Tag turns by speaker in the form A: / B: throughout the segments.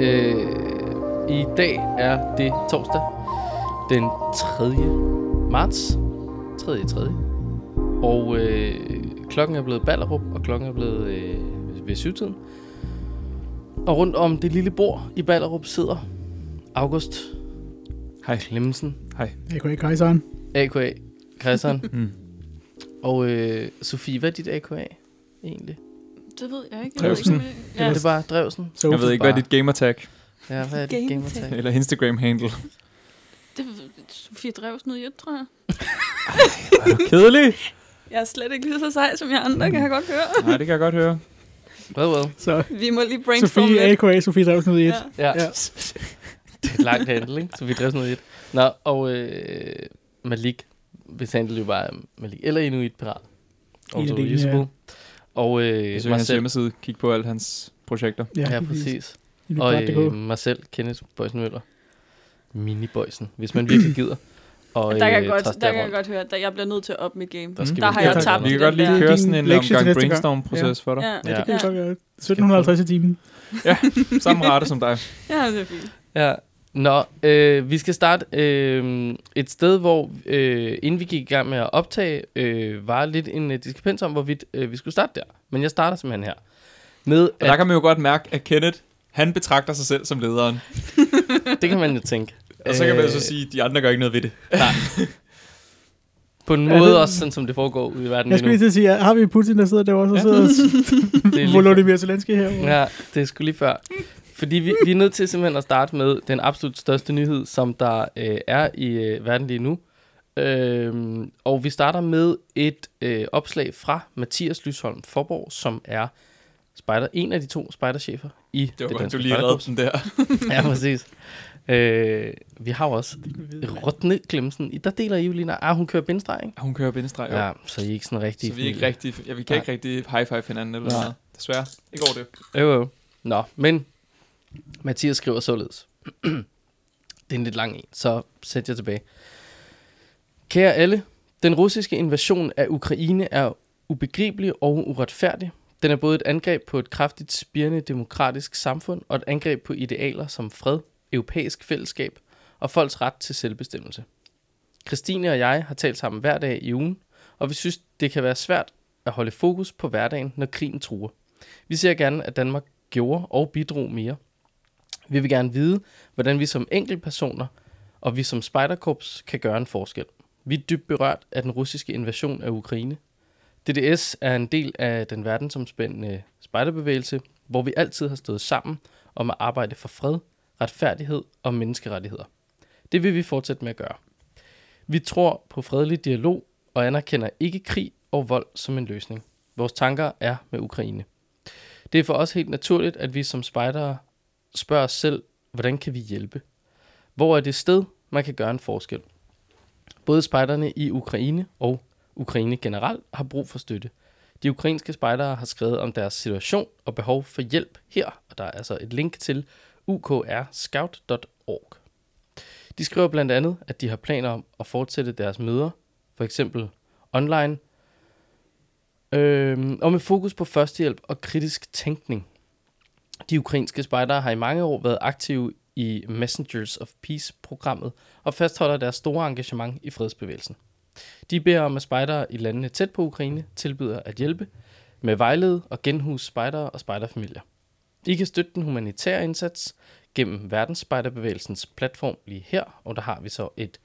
A: øh, er det torsdag den 3. marts. 3. 3. Og øh, klokken er blevet Ballerup, og klokken er blevet øh, ved syvtiden. Og rundt om det lille bord i Ballerup sidder August
B: Hej.
A: Klemmensen,
C: AKA Kajseren.
A: AKA Christian
B: Mm.
A: og øh, Sofie. Hvad er dit AKA egentlig?
D: Det ved jeg ikke.
B: Drevsen.
D: Jeg ved
A: Ja.
D: ikke,
A: Er
D: hvad det
A: det
D: er.
A: bare Drevsen?
C: Så
B: Jeg ved ikke, hvad dit gamertag
A: Ja, hvad er dit
E: Gamertag.
A: gamertag?
B: eller Instagram-handle.
D: ja, det er Sofie Drevsen ud tror jeg.
B: Kedelig.
E: Jeg er slet ikke lige så sej som jeg andre, kan jeg godt høre.
B: Nej, det kan jeg godt høre.
A: Hvad, hvad?
C: Så
E: Vi må lige brainstorme
C: Sofie,
E: lidt.
C: AKA Sofie Drevsen ud i et.
E: Ja.
A: Ja.
C: Ja.
A: det er et langt handel, ikke? Så vi drev sådan noget i et. Nå, og øh, Malik, hvis handel jo bare er Malik, eller Inuit Pirat. Og
C: En
A: så
C: af delene,
A: Yusubo.
C: ja.
A: Og øh,
B: Besøg hans
A: Marcel.
B: hjemmeside. Kig på alle hans projekter.
A: Ja,
C: lige præcis.
A: præcis.
C: I mit
A: Og
C: bræt.dk.
A: øh, Marcel, Kenneth Bøjsen Møller. Mini-Bøjsen, hvis man virkelig gider. Og,
D: Der kan jeg
A: øh,
D: godt,
A: traste
D: der kan jeg
A: rundt.
D: godt høre, at jeg bliver nødt til at op mit game.
A: Der skal
D: Der
A: vi-
D: har
A: Ja,
D: jeg
A: tak.
D: tabt
B: Mm. Vi kan
D: den
B: godt lige
D: der.
C: Det er
B: køre
C: din
B: sådan en
C: lektie til
B: omgang
C: næste gang.
B: brainstorm-proces for dig.
D: Ja,
A: Ja.
C: Ja, det kan
D: ja.
C: vi godt gøre. 1750 i timen.
B: Samme rette som dig.
D: ja, det er fint.
A: Ja. Nå, øh, vi skal starte øh, et sted, hvor øh, inden vi gik i gang med at optage, øh, var lidt en øh, diskrepans om, hvorvidt øh, vi skulle starte der. Men jeg starter simpelthen her. Med,
B: Og der
A: at,
B: kan man jo godt mærke, at Kenneth, han betragter sig selv som lederen.
A: det kan man jo tænke.
B: Og så kan man jo så
A: Øh,
B: sige, at de andre gør ikke noget ved det.
A: På en
C: Ja,
A: måde
C: det-
A: også sådan, som det foregår ude i verden
C: Jeg skulle
A: lige nu.
C: lige til at sige, ja, har vi Putin, der sidder derovre, så
B: Ja.
C: sidder
A: Det er lige
C: Volodymyr Zelensky herovre.
A: Ja, det er sgu lige før. Fordi vi, vi er nødt til simpelthen at starte med den absolut største nyhed, som der øh, er i øh, verden lige nu. Øhm, og vi starter med et øh, opslag fra Mathias Lysholm Forborg, som er spider, en af de to spejderchefer i
B: Det var
A: det
B: godt,
A: danske
B: du lige redde
A: spejderkorps.
B: den der.
A: Ja, præcis. Øh, vi har jo også Rotne Glemsen. I- Der deler I jo lige nøj- Ah, hun kører bindestreg, ikke?
B: Hun kører bindestreg.
A: Ja, så I er ikke sådan rigtig...
B: Så vi, er ikke
A: familie.
B: rigtig, ja, vi kan ikke rigtig high-five hinanden eller
A: Nej.
B: noget. Desværre. Ikke over det.
A: Jo, jo. Nå, men Mathias skriver således. det er en lidt lang en, så sæt jer tilbage. Kære alle, den russiske invasion af Ukraine er ubegribelig og uretfærdig. Den er både et angreb på et kraftigt spirende demokratisk samfund og et angreb på idealer som fred, europæisk fællesskab og folks ret til selvbestemmelse. Christine og jeg har talt sammen hver dag i ugen, og vi synes, det kan være svært at holde fokus på hverdagen, når krigen truer. Vi ser gerne, at Danmark gjorde og bidrog mere. Vi vil gerne vide, hvordan vi som enkeltpersoner og vi som spejderkorps kan gøre en forskel. Vi er dybt berørt af den russiske invasion af Ukraine. DDS er en del af den verdensomspændende spejderbevægelse, hvor vi altid har stået sammen om at arbejde for fred, retfærdighed og menneskerettigheder. Det vil vi fortsætte med at gøre. Vi tror på fredelig dialog og anerkender ikke krig og vold som en løsning. Vores tanker er med Ukraine. Det er for os helt naturligt, at vi som spejdere spørger os selv, hvordan kan vi hjælpe? Hvor er det sted, man kan gøre en forskel? Både spejderne i Ukraine og Ukraine generelt har brug for støtte. De ukrainske spejdere har skrevet om deres situation og behov for hjælp her, og der er altså et link til ukrscout.org. De skriver blandt andet, at de har planer om at fortsætte deres møder, for eksempel online, Øhm, og med fokus på førstehjælp og kritisk tænkning. De ukrainske spejdere har i mange år været aktive i Messengers of Peace-programmet og fastholder deres store engagement i fredsbevægelsen. De beder om, at spejdere i landene tæt på Ukraine tilbyder at hjælpe med at vejlede og genhuse spejdere og spejderfamilier. I kan støtte den humanitære indsats gennem verdensspejderbevægelsens platform lige her, og der har vi så et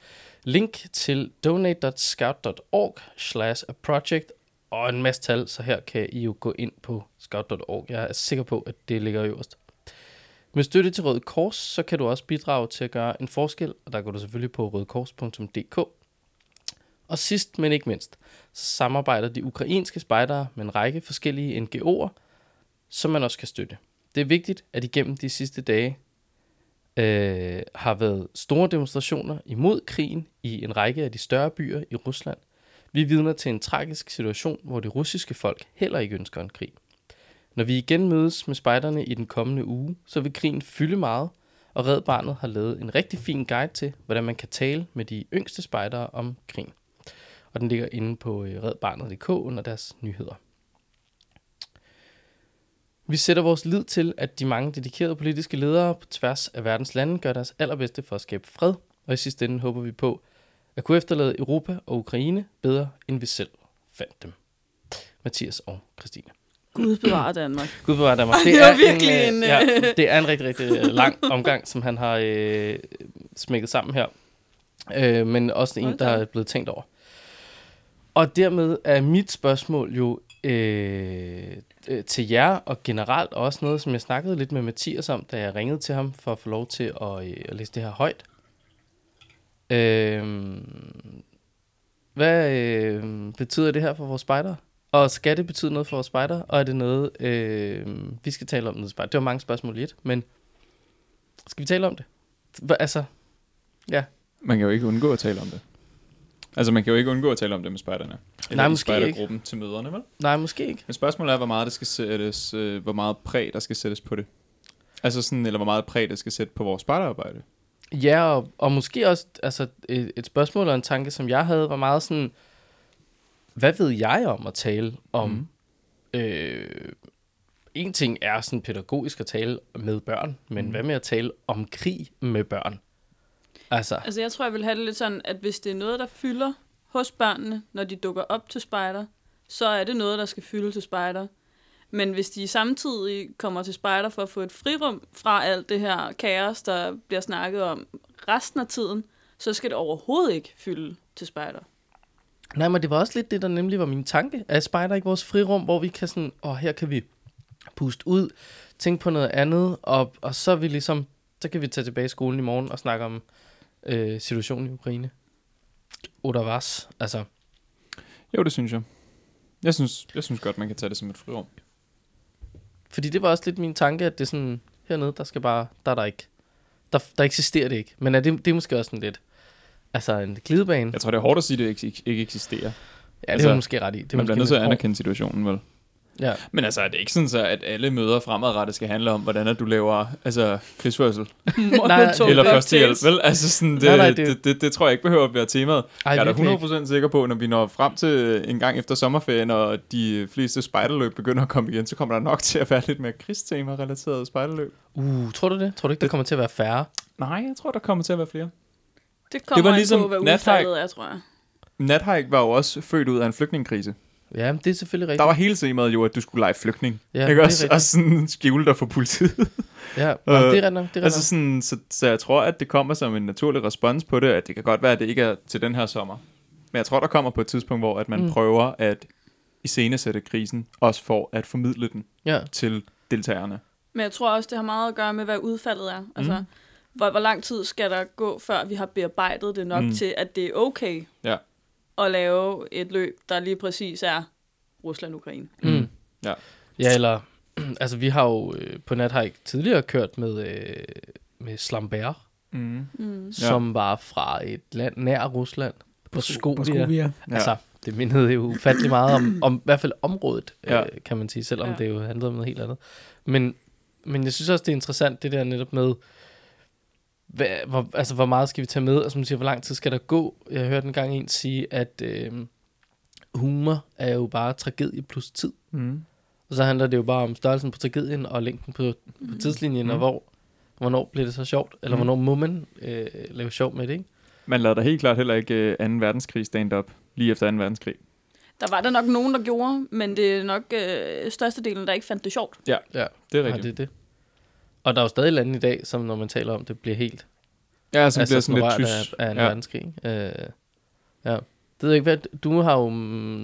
A: link til donate.scout.org slash a project og en masse tal, så her kan I jo gå ind på scout.org. Jeg er sikker på, at det ligger øverst. Med støtte til Røde Kors, så kan du også bidrage til at gøre en forskel, og der går du selvfølgelig på rødekors.dk. Og sidst, men ikke mindst, så samarbejder de ukrainske spejdere med en række forskellige NGO'er, som man også kan støtte. Det er vigtigt, at igennem de sidste dage øh, har været store demonstrationer imod krigen i en række af de større byer i Rusland. Vi er vidner til en tragisk situation, hvor det russiske folk heller ikke ønsker en krig. Når vi igen mødes med spejderne i den kommende uge, så vil krigen fylde meget, og Red Barnet har lavet en rigtig fin guide til, hvordan man kan tale med de yngste spejdere om krigen. Og den ligger inde på øh, redbarnet.dk under deres nyheder. Vi sætter vores lid til, at de mange dedikerede politiske ledere på tværs af verdens lande gør deres allerbedste for at skabe fred, og i sidste ende håber vi på at kunne efterlade Europa og Ukraine bedre, end vi selv fandt dem. Mathias og Christine.
D: Gud bevarer Danmark.
A: Gud bevare Danmark.
D: Ej, det var virkelig
A: en,
D: en,
A: øh, ja, det er en rigtig, rigtig øh, lang omgang, som han har øh, smækket sammen her. Øh, men også en,
D: Hold
A: der
D: da op.
A: er blevet tænkt over. Og dermed er mit spørgsmål jo øh, øh, til jer, og generelt også noget, som jeg snakkede lidt med Mathias om, da jeg ringede til ham for at få lov til at, øh, at læse det her højt. Øh, hvad øh, betyder det her for vores spejdere? Og skal det betyde noget for vores spejder, og er det noget, øh, vi skal tale om noget spejder? Det var mange spørgsmål i et, men skal vi tale om det? Hva, altså,
B: Man kan jo ikke undgå at tale om det. Altså, man kan jo ikke undgå at tale om det med spejderne. Eller
A: Nej,
B: i
A: måske ikke.
B: spejdergruppen til møderne, vel?
A: nej, måske ikke.
B: Men spørgsmålet er, hvor meget, det skal sættes, øh, hvor meget præg, der skal sættes på det. Altså sådan, eller hvor meget præg, der skal sætte på vores spejderarbejde.
A: Ja, og, og måske også altså, et, et spørgsmål og en tanke, som jeg havde, var meget sådan, hvad ved jeg om at tale om? Mm. Øh, en ting er sådan pædagogisk at tale med børn, men mm. hvad med at tale om krig med børn? Altså,
D: Altså, jeg tror, jeg vil have det lidt sådan, at hvis det er noget, der fylder hos børnene, når de dukker op til spejder, så er det noget, der skal fylde til spejder. Men hvis de samtidig kommer til spejder for at få et frirum fra alt det her kaos, der bliver snakket om resten af tiden, så skal det overhovedet ikke fylde til spejder.
A: Nej, men det var også lidt det, der nemlig var min tanke. Er spejder ikke vores frirum, hvor vi kan sådan, og her kan vi puste ud, tænke på noget andet, og, og så er vi ligesom, så kan vi tage tilbage i skolen i morgen og snakke om øh, situationen i Ukraine. Oder was? Altså,
B: Jo, det synes jeg. Jeg synes, jeg synes godt, man kan tage det som et frirum.
A: Mm. fordi det var også lidt min tanke, at det er sådan, hernede, der skal bare, der er der ikke, der, der eksisterer det ikke. Men er det, det er måske også sådan lidt, altså en glidebane.
B: Jeg tror, det er hårdt at sige, at det ikke, ikke eksisterer.
A: Ja, det
B: altså,
A: er du måske ret i. Det er
B: man bliver
A: måske
B: nødt til at
A: lidt hårdt.
B: anerkende situationen, vel?
A: Ja.
B: Men altså, er det ikke sådan så, at alle møder fremadrettet skal handle om, hvordan at du laver altså, krigsførsel?
A: Molotov
B: Eller førstehjælp, vel? Altså, sådan, det,
A: Nej,
B: nej,
A: nej,
B: nej,
A: det-
B: det... Det, det, det, tror jeg ikke behøver at være temaet.
A: Ej,
B: Ej, jeg er da
A: virkelig
B: 100% sikker på, når vi når frem til en gang efter sommerferien, og de fleste spejderløb begynder at komme igen, så kommer der nok til at være lidt mere krigstema-relateret spejderløb.
A: Uh, tror du det? Tror du ikke, der kommer til at være færre?
B: Nej, jeg tror, der kommer til at være flere.
D: Det kommer det var ligesom
B: ligesom
D: på, hvad
B: nathajk.
D: udfaldet er, tror jeg.
B: Nathajk var jo også født ud af en flygtningkrise.
A: Ja, men det er selvfølgelig rigtigt.
B: Der var hele temaet jo, at du skulle lege flygtning.
A: Ja,
B: Ja,
A: det er
B: ikke også?
A: rigtigt.
B: Og sådan skjule dig for politiet.
A: Ja, Nå, det er ret nok. Det er ret
B: Altså
A: nok.
B: sådan, så, så jeg tror, at det kommer som en naturlig respons på det, at det kan godt være, at det ikke er til den her sommer. Men jeg tror, der kommer på et tidspunkt, hvor at man
A: Mm.
B: mm. prøver at iscenesætte krisen, også for at formidle den
A: Ja.
B: til deltagerne.
D: Men jeg tror også, det har meget at gøre med, hvad udfaldet er. Altså, mm. hvor, hvor lang tid skal der gå, før vi har bearbejdet det nok mm.
B: Mm.
D: til, at det er okay
B: Ja.
D: at lave et løb, der lige præcis er Rusland-Ukraine.
A: Mm.
B: Ja.
A: ja, eller... Altså, vi har jo øh, på Nathike tidligere kørt med, øh, med Slambert,
B: Mm.
D: Mm.
A: ja. som var fra et land nær Rusland, på
C: På
A: Skobia.
C: Skobia.
A: Ja. Altså, det mindede jo ufattelig meget om, om i hvert fald området, ja.
B: Ja.
A: øh, kan man sige, selvom ja.
D: Ja.
A: det jo handlede om noget helt andet. Men, men jeg synes også, det er interessant, det der netop med, hvad, hvor, altså, hvor meget skal vi tage med, og som du siger, hvor lang tid skal der gå? Jeg hørte en gang en sige, at øh, humor er jo bare tragedie plus tid.
B: Mm.
A: Og så handler det jo bare om størrelsen på tragedien og længden på, på
D: Mm-hmm.
A: tidslinjen, mm. og
B: Mm.
A: hvor, hvornår bliver det så sjovt, eller
B: Mm.
A: hvornår må man øh, lave sjov med det, ikke?
B: Man lader da helt klart heller ikke øh, 2. verdenskrig stand-up lige efter 2. verdenskrig.
D: Der var der nok nogen, der gjorde, men det er nok øh, størstedelen, der ikke fandt det sjovt.
A: Ja,
B: Det er
A: det er,
B: rigtigt.
A: det, er det. Og der er jo stadig lande i dag, som når man taler om det, bliver helt
B: Ja, som altså, bliver sådan lidt
A: berørt
B: tys.
A: af, af en ja.
B: Ja.
A: verdenskrig. ikke? Øh, ja. Det ved jeg ikke, hvad, du har jo mm,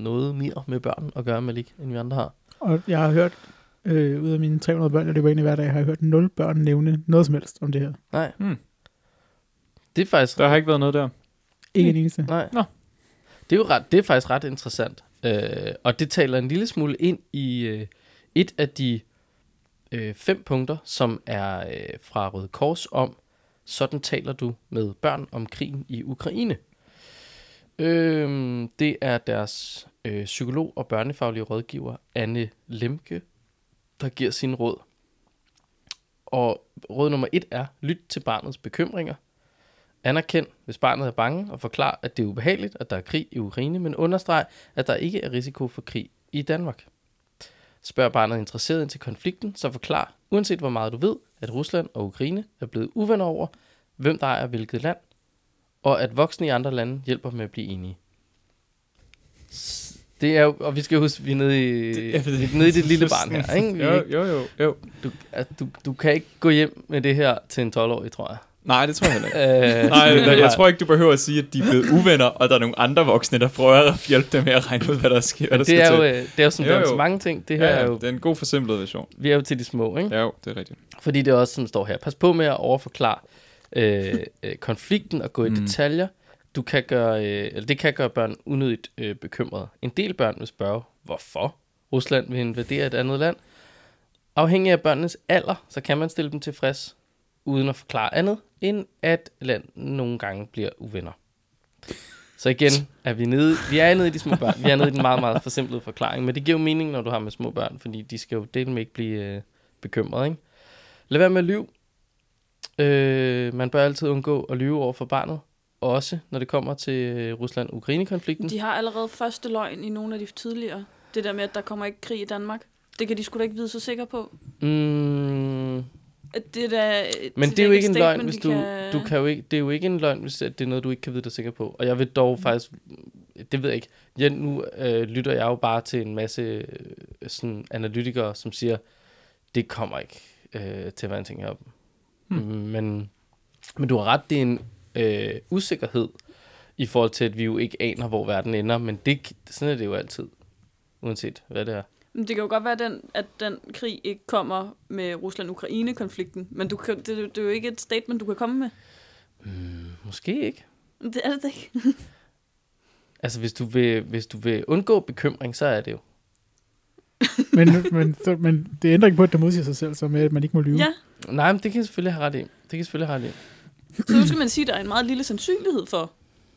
A: noget mere med børn at gøre, Malik, end vi andre har.
C: Og jeg har hørt, øh, ud af mine 300 børn, jeg løber ind i hver dag, har jeg hørt nul børn nævne noget som helst om det her.
A: Nej.
B: Mm.
A: Det er faktisk...
B: Der har ikke været noget der.
C: Ikke en eneste.
A: Nej.
B: Nå.
A: Det er jo ret, det er faktisk ret interessant. Øh, og det taler en lille smule ind i øh, et af de øh, fem punkter, som er øh, fra Røde Kors om, sådan taler du med børn om krigen i Ukraine. Øh, det er deres øh, psykolog og børnefaglige rådgiver, Anne Lemke, der giver sin råd. Og råd nummer et er, lyt til barnets bekymringer. Anerkend, hvis barnet er bange, og forklar, at det er ubehageligt, at der er krig i Ukraine, men understreg, at der ikke er risiko for krig i Danmark. Spørg barnet interesseret ind til konflikten, så forklar, uanset hvor meget du ved, at Rusland og Ukraine er blevet uvenner over, hvem der ejer hvilket land, og at voksne i andre lande hjælper med at blive enige. S- Det er jo, og vi skal huske, vi er nede i det, nede i det lille barn her, ikke? Vi er
B: jo,
A: ikke
B: jo, jo, jo.
A: du, at du, du kan ikke gå hjem med det her til en 12-årig, tror jeg.
B: Nej, det tror jeg heller ikke.
A: Øh,
B: Nej, jeg, jeg tror ikke, du behøver at sige, at de er blevet uvenner, og der er nogle andre voksne, der prøver at hjælpe dem med at regne ud, hvad der sker. Hvad der
A: det
B: skal
A: er, jo,
B: til.
A: øh, det er jo sådan,
B: Jo,
A: der er jo
B: jo.
A: så mange ting. Det her
B: ja,
A: er
B: ja,
A: jo,
B: det er en god forsimplet version.
A: vi er jo til de små, ikke?
B: Ja, jo, det er rigtigt.
A: Fordi det er også, som står her. Pas på med at overforklare øh, øh, konflikten og gå i mm.
B: Mm.
A: detaljer. Du kan gøre, øh, eller det kan gøre børn unødigt øh, bekymrede. En del børn vil spørge, hvorfor Rusland vil invadere et andet land. Afhængig af børnenes alder, så kan man stille dem tilfreds, uden at forklare andet, end at land nogle gange bliver uvenner. Så igen er vi nede, vi er nede i de små børn. Vi er nede i den meget, meget forsimplede forklaring, men det giver jo mening, når du har med små børn, fordi de skal jo delt med ikke blive øh, bekymrede, ikke? Lad være med at lyve. Øh, man bør altid undgå at lyve over for barnet, også når det kommer til øh, Rusland-Ukraine-konflikten.
D: De har allerede første løgn i nogle af de tidligere. Det der med, at der kommer ikke krig i Danmark. Det kan de sgu da ikke vide så sikker på.
A: Mm,
D: At det er da,
A: Men det er jo ikke en løgn, hvis du,
D: Kan...
A: du kan jo ikke, det er jo ikke en løgn, hvis at det er noget, du ikke kan vide dig sikker på. Og jeg vil dog faktisk, det ved jeg ikke, jeg, nu øh, lytter jeg jo bare til en masse øh, sådan analytikere, som siger, det kommer ikke øh, til at være en ting heroppe. Hmm. Men, men du har ret, det er en øh, usikkerhed i forhold til, at vi jo ikke aner, hvor verden ender, men det, sådan er det jo altid, uanset hvad det er.
D: Men det kan jo godt være, den, at den krig ikke kommer med Rusland-Ukraine-konflikten. Men du kan, det, det, er jo ikke et statement, du kan komme med.
A: Måske ikke.
D: Men Det er det da ikke.
A: Altså, hvis du vil, hvis du vil undgå bekymring, så er det jo.
C: Men, men, så, men det ændrer ikke på, at det modsiger sig selv, så med, at man ikke må lyve.
D: Ja,
A: Nej, men det kan jeg selvfølgelig have ret i. Det kan jeg selvfølgelig have ret i.
D: så nu skal man sige, at der er en meget lille sandsynlighed for,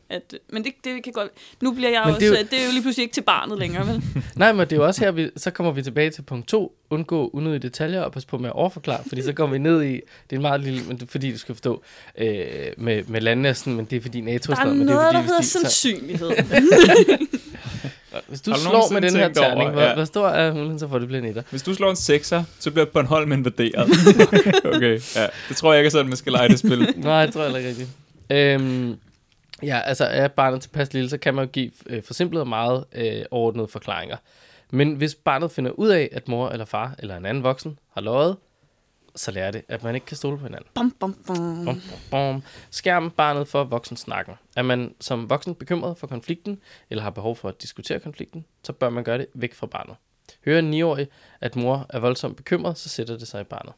D: at, men det, det kan godt... Nu bliver jeg
A: Men
D: men
A: det er
D: også... Det er, jo... det er jo lige pludselig ikke til barnet længere, vel?
A: Nej, men det er jo også her, vi, så kommer vi tilbage til punkt 2. Undgå unødige detaljer og pas på med at overforklare, fordi så kommer vi ned i, det er en meget lille, men det er fordi du skal forstå, øh, med, med landene, er sådan, men det er fordi NATO
D: Der
A: er
D: er
A: sådan, men det er
D: noget,
A: fordi,
D: der
A: hvis,
D: hedder
A: de, så,
D: sandsynlighed.
A: hvis du
B: Har du
A: slår med
B: nogensinde
A: den her
B: tænkt over,
A: terning, hvor, ja.
B: ja.
A: hvor, stor er hun, så får det bliver netter.
B: Hvis du slår en sekser, så bliver Bornholm invaderet. okay, ja. Det tror jeg ikke er sådan, man skal lege det spil.
A: Nej, det tror jeg heller ikke rigtigt. Øhm, ja, altså er barnet tilpas lille, så kan man jo give øh, forsimplede og meget øh, overordnede forklaringer. Men hvis barnet finder ud af, at mor eller far eller en anden voksen har løjet, så lærer det, at man ikke kan stole på hinanden.
D: bum, bum, bum.
A: Bom, bom, bom. Skærm barnet for voksensnakken. Er man som voksen bekymret for konflikten, eller har behov for at diskutere konflikten, så bør man gøre det væk fra barnet. Hører en 9-årig, at mor er voldsomt bekymret, så sætter det sig i barnet.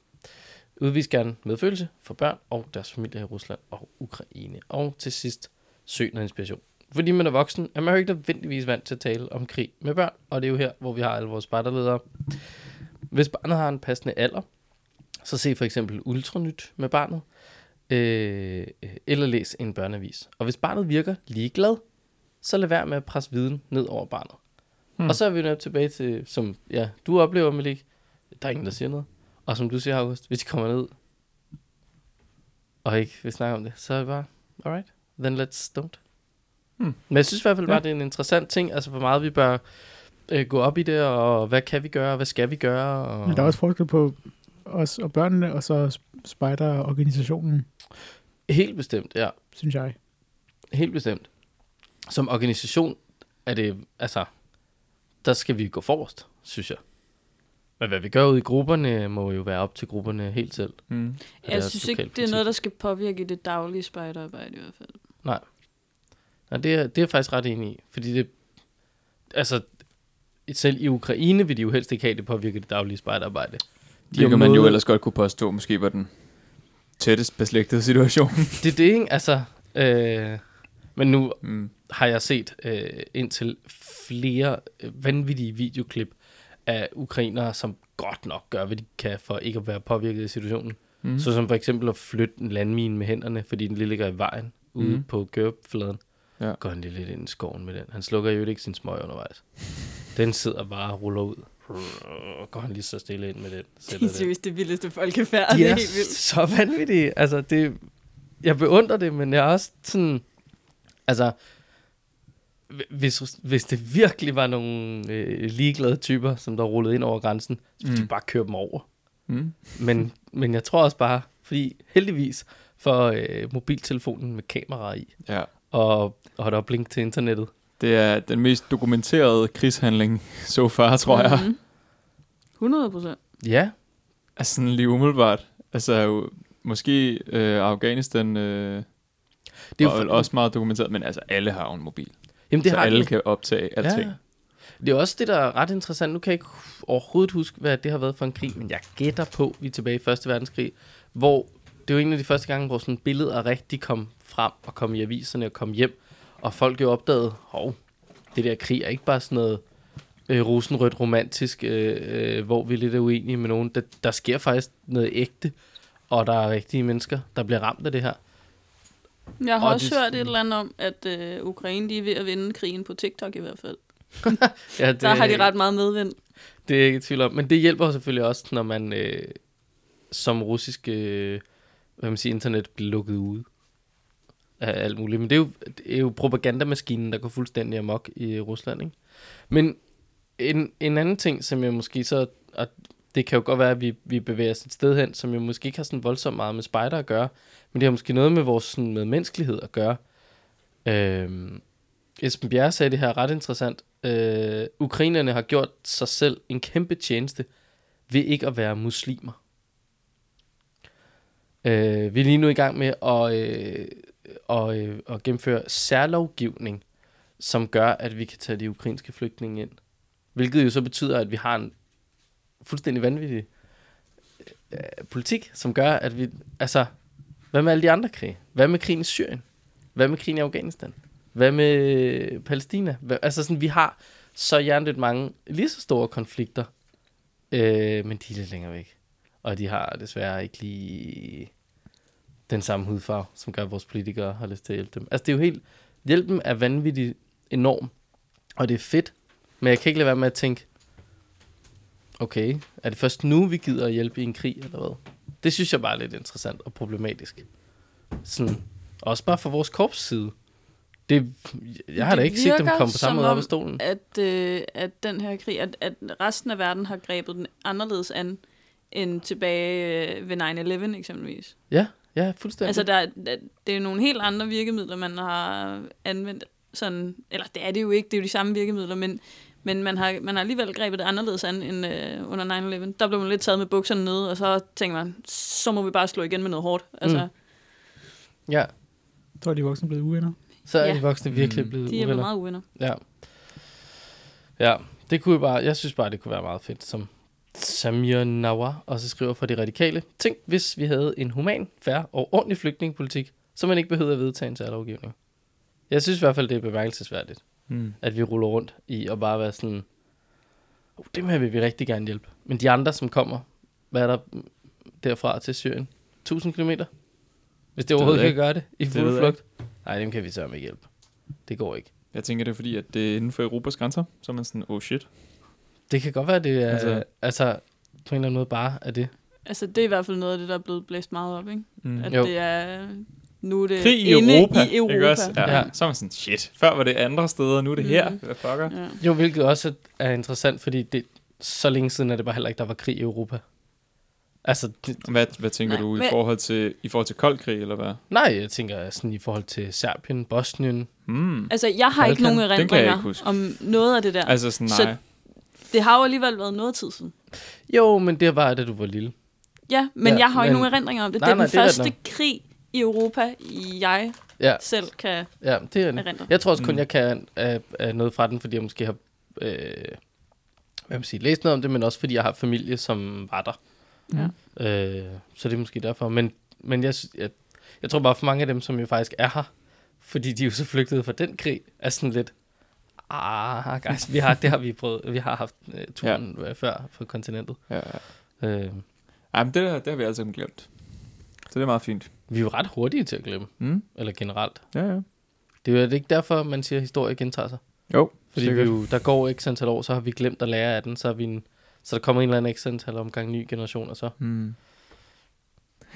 A: Udvis gerne medfølelse for børn og deres familie i Rusland og Ukraine. Og til sidst, søg noget inspiration. Fordi man er voksen, er man jo ikke nødvendigvis vant til at tale om krig med børn, og det er jo her, hvor vi har alle vores spejderledere. Hvis barnet har en passende alder, så se for eksempel Ultranyt med barnet, øh, eller læs en børneavis. Og hvis barnet virker ligeglad, så lad være med at presse viden ned over barnet. Hmm. Og så er vi nødt tilbage til, som ja, du oplever, Malik, der er ingen, der siger noget. Og som du siger, August, hvis de kommer ned og ikke vil snakke om det, så er det bare, alright, then let's don't. Hmm.
B: Hmm.
A: Men jeg synes i hvert fald bare,
B: Ja.
A: det er en interessant ting, altså hvor meget vi bør øh, gå op i det, og hvad kan vi gøre, og hvad skal vi gøre? Og...
C: Men der er også forskel på os og børnene, og så spejderorganisationen,
A: Helt bestemt, ja.
C: synes jeg.
A: Helt bestemt. Som organisation er det, altså, der skal vi gå forrest, synes jeg. Men hvad vi gør ude i grupperne, må jo være op til grupperne helt selv.
B: Mm.
A: og
D: Jeg
A: deres
D: synes ikke, det er
A: lokalpolitik.
D: noget, der skal påvirke det daglige spejderarbejde i hvert fald.
A: Nej, det er, det er jeg faktisk ret enig i, fordi det, altså, selv i Ukraine vil de jo helst ikke have, det påvirker det daglige spejderarbejde.
B: De det kan man jo ellers godt kunne påstå, måske var den tættest beslægtede situation.
A: Det er det, ikke? Altså, øh, men nu
B: Mm.
A: har jeg set øh, indtil flere øh, vanvittige videoklip af ukrainere, som godt nok gør, hvad de kan for ikke at være påvirket af situationen. Mm.
B: Mm.
A: Så som for eksempel at flytte en landmine med hænderne, fordi den lige ligger i vejen ude mm.
B: Mhm.
A: på kørefladen.
B: Ja.
A: Går han lige lidt ind i skoven med den. Han slukker jo ikke sin smøg undervejs. Den sidder bare og ruller ud. Går han lige så stille ind med den. sætter den.
D: Seriøst, det vildeste folkefærd.
A: De
D: det
A: er
D: er helt vildt.
A: så vanvittige. Altså, det, jeg beundrer det, men jeg er også sådan... Altså, hvis, hvis det virkelig var nogle øh, ligeglade typer, som der rullede ind over grænsen, så ville mm.
B: Mm.
A: de bare køre dem over.
B: Mm.
A: Men, men jeg tror også bare, fordi heldigvis for øh, mobiltelefonen med kamera i,
B: Ja.
A: og, og der er blink til internettet.
B: Det er den mest dokumenterede krigshandling so far, tror jeg.
D: Mhm. 100 procent.
A: Ja,
B: Altså sådan lige umiddelbart. Altså jo, måske øh, Afghanistan øh,
A: det
B: det
A: er
B: er
A: jo
B: vel også meget dokumenteret, men altså alle har jo en mobil.
A: Jamen, det
B: så
A: har
B: alle
A: de.
B: kan optage alting.
A: Ja. Det er også det, der er ret interessant. Nu kan jeg ikke overhovedet huske, hvad det har været for en krig, men jeg gætter på, at vi er tilbage i Første Verdenskrig, hvor det var en af de første gange, hvor sådan billeder rigtig kom frem og kom i aviserne og kom hjem, og folk jo opdagede, hov, det der krig er ikke bare sådan noget øh, rosenrødt romantisk, øh, øh, hvor vi lidt er uenige med nogen. Der, der sker faktisk noget ægte, og der er rigtige mennesker, der bliver ramt af det her.
D: Jeg har
A: Og
D: også
A: det-
D: hørt et eller andet om, at øh, Ukraine de er ved at vinde krigen på TikTok i hvert fald.
A: Ja, det,
D: Der har de ret meget medvind.
A: Det er jeg ikke i tvivl om. Men det hjælper selvfølgelig også, når man øh, som russisk øh, hvad man siger, internet bliver lukket ude af alt muligt. Men det er jo, det er jo propagandamaskinen, der går fuldstændig amok i Rusland. Ikke? Men en, en anden ting, som jeg måske så... Og det kan jo godt være, at vi, vi bevæger os et sted hen, som jo måske ikke har sådan voldsomt meget med spejder at gøre, men det har måske noget med vores sådan, med menneskelighed at gøre. Øhm, Esben Bjerre sagde det her ret interessant. Øh, ukrainerne har gjort sig selv en kæmpe tjeneste ved ikke at være muslimer. Øh, vi er lige nu i gang med at, øh, og, øh, at gennemføre særlovgivning, som gør, at vi kan tage de ukrainske flygtninge ind. Hvilket jo så betyder, at vi har en fuldstændig vanvittig øh, politik, som gør, at vi... Altså, hvad med alle de andre krige? Hvad med krigen i Syrien? Hvad med krigen i Afghanistan? Hvad med øh, Palæstina? Hvad, altså sådan, vi har så hjernedødt mange lige så store konflikter, øh, men de er lidt længere væk. Og de har desværre ikke lige den samme hudfarve, som gør, at vores politikere har lyst til at hjælpe dem. Altså det er jo helt... Hjælpen er vanvittigt enorm, og det er fedt, men jeg kan ikke lade være med at tænke, okay, er det først nu, vi gider at hjælpe i en krig, eller hvad? Det synes jeg bare er lidt interessant og problematisk. Sådan, også bare fra vores korps side. Det, jeg har
D: Det
A: da ikke set dem
D: virker
A: komme på samme
D: som
A: måde op
D: om,
A: af stolen.
D: At, øh, at den her krig, at, at resten af verden har grebet den anderledes an end tilbage øh, ved 9-11 eksempelvis.
A: Ja, ja, fuldstændig.
D: Altså, der, er- der, det er nogle helt andre virkemidler, man har anvendt. Sådan, eller det er det jo ikke, det er jo de samme virkemidler, men, men man, har, man har alligevel grebet det anderledes an end øh, under 9-11. Der blev man lidt taget med bukserne nede, og så tænker man, så må vi bare slå igen med noget hårdt. Altså, mm,
A: Ja,
C: Så er de voksne blevet uvenner.
A: så er ja.
D: Ja.
A: de voksne virkelig
B: Mm.
A: blevet
D: de er blevet
A: uvenner.
D: meget uvenner.
A: Ja. ja, det kunne jo bare, jeg synes bare, det kunne være meget fedt, som Samir Nawar også skriver for de radikale. Tænk, hvis vi havde en human, fair og ordentlig flygtningepolitik, så man ikke behøvede at vedtage en særlovgivning. Jeg synes i hvert fald, det er bemærkelsesværdigt,
B: Mm.
A: at vi ruller rundt i og bare være sådan, oh, dem her vil vi rigtig gerne hjælpe. Men de andre, som kommer, hvad er der derfra til Syrien? 1000 km? Hvis det overhovedet
B: jeg
A: kan gøre det i
B: ved
A: fuld
B: jeg
A: flugt? Nej, dem kan vi sørge med hjælpe. Det går ikke.
B: Jeg tænker, det er fordi, at det er inden for Europas grænser, så er man sådan, oh shit.
A: Det kan godt være, det er, altså,
B: Altså-
A: altså på en eller anden måde bare er det.
D: Altså, det er i hvert fald noget af det, der er blevet blæst meget op, ikke?
B: Mm.
D: At
A: Jo.
D: jo. det er... Nu er det
B: Krig i
D: inde
B: Europa,
D: I Europa.
B: Ikke også? Ja.
A: Ja.
B: ja. Så er man sådan, shit, før var det andre steder, nu er det
D: Mm.
B: mm. her. Hvad fucker?
D: Ja.
A: Jo, hvilket også er interessant, fordi det, så længe siden er det bare heller ikke, der var krig i Europa. Altså, det,
B: Hvad, hvad tænker
D: Nej,
B: du i
D: men-
B: forhold til, i forhold til kold krig, eller hvad?
A: nej, jeg tænker sådan i forhold til Serbien, Bosnien.
B: Mm.
D: Altså, jeg har ikke
A: Balkan,
D: nogen
B: den kan jeg ikke
D: erindringer
B: huske.
D: om noget af det der.
B: Altså sådan, nej.
D: Så- Det har jo alligevel været noget tid siden.
A: Jo, men det var, da du var lille.
D: Ja, men
A: Ja,
D: ja, jeg har jo ikke
A: men-
D: nogen erindringer om det.
A: Nej,
D: Nej, det er
A: nej,
D: den
A: det er
D: første
A: rigtigt
D: krig i Europa, jeg
A: Ja,
D: selv kan
A: ja det er det.
D: erindre.
A: Jeg tror også kun,
B: Mm.
A: jeg kan af, af noget fra den, fordi jeg måske har øh, hvad man siger, læst noget om det, men også fordi jeg har familie, som var der.
D: Ja.
A: Øh, så det er måske derfor. Men, men jeg, sy- jeg, jeg tror bare, for mange af dem, som jo faktisk er her, fordi de jo så flygtede fra den krig, er sådan lidt, ah, guys, vi har, det har vi prøvet, vi har haft øh, turen ja. før på kontinentet.
B: Ja, ja.
A: Øh,
B: Ej, men det, der, det har vi altså glemt. Så det er meget fint.
A: vi er jo ret hurtige til at glemme,
B: Mm.
A: eller generelt.
B: Ja, ja.
A: Det er jo er det ikke derfor, man siger, at historie gentager sig.
B: Jo,
A: Fordi vi jo, der går ikke antal år, så har vi glemt at lære af den, så, er vi en, så der kommer en eller anden x antal omgang ny generation, og så...
B: Mm.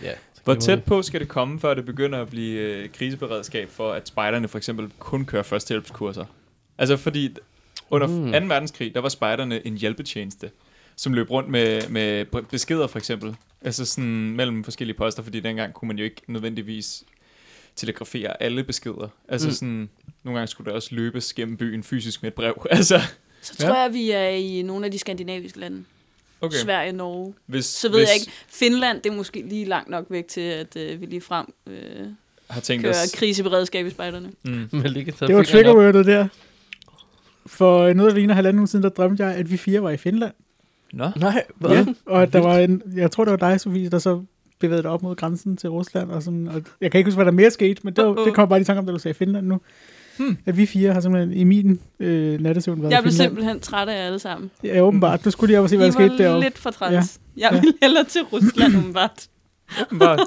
A: Ja, så
B: Hvor
A: glemmer
B: tæt
A: vi.
B: på skal det komme, før det begynder at blive øh, kriseberedskab for, at spejderne for eksempel kun kører førstehjælpskurser? Altså fordi under
A: Mm.
B: mm. 2. verdenskrig, der var spejderne en hjælpetjeneste, som løb rundt med, med bre- beskeder for eksempel. Altså sådan mellem forskellige poster, fordi dengang kunne man jo ikke nødvendigvis telegrafere alle beskeder. Altså
A: Mm.
B: mm. sådan, nogle gange skulle der også løbes gennem byen fysisk med et brev. Altså,
D: Så
A: Ja.
D: tror jeg, vi er i nogle af de skandinaviske lande. Okay.
B: okay.
D: Sverige, Norge.
B: Hvis,
D: Så ved
B: hvis
D: jeg ikke. Finland, det er måske lige langt nok væk til, at øh, vi lige frem øh,
B: har tænkt os...
D: kører kriseberedskab i spejderne.
B: Mm.
A: Men ligge, så
C: Det var
A: fingeren op.
C: triggerwordet der. For øh, noget, der ligner halvanden uge siden, der drømte jeg, at vi fire var i Finland.
B: Nå,
A: Nej, hvad?
C: Ja, og at der var en, jeg tror, det var dig, Sofie, der så bevægede dig op mod grænsen til Rusland. Og sådan, og jeg kan ikke huske, hvad der mere skete, men det, var, det kom bare lige i tanke om, da du sagde Finland nu.
B: Hmm.
C: At vi fire har simpelthen i min øh, nattesøvn været
D: Jeg
C: i
D: blev
C: Finland.
D: simpelthen træt af jer alle sammen.
C: Ja, åbenbart. Du skulle lige op og se,
D: I
C: hvad der skete
D: var
C: deroppe.
D: lidt for træls. Ja. Jeg ville hellere til Rusland, umiddelbart.
B: åbenbart.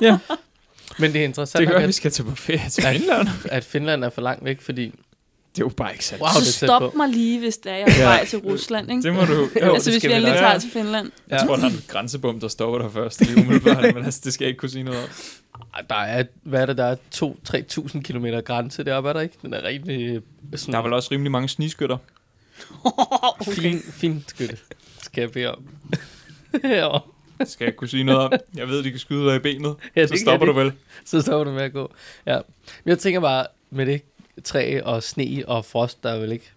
A: Men det er interessant,
B: Det
A: det
B: gør, at
A: at,
B: vi skal til buffet til Finland.
A: at Finland er for langt væk, fordi...
B: Det er jo bare ikke sandt.
A: Wow, det
D: Så
A: er tæt
D: stop
A: på.
D: mig lige, hvis det er, jeg er på
B: Ja.
D: vej til Rusland, ikke?
B: Det må du... Jo,
D: altså,
A: det
D: hvis
A: skal
D: vi er
A: vi
D: lidt
B: da.
D: træt til Finland.
A: Ja.
B: Jeg tror, der er en grænsebom, der stopper der først lige umiddelbart, men altså, det skal jeg ikke kunne sige noget om.
A: Ej, Der er, hvad er det, der er 2-3.000 km grænse deroppe, er der ikke? Den er rigtig øh, sådan
B: Der er vel også rimelig mange sniskytter.
A: okay. fin, fin skytte, skal jeg bede om. Herovre.
B: Det skal jeg ikke kunne sige noget om. Jeg ved, de kan skyde dig i benet.
A: Ja,
B: Ja,
A: det
B: så
A: kan
B: stopper
A: de.
B: du vel.
A: så stopper du med at gå. Ja. Men jeg tænker bare, med det træ og sne og frost, der er vel ikke...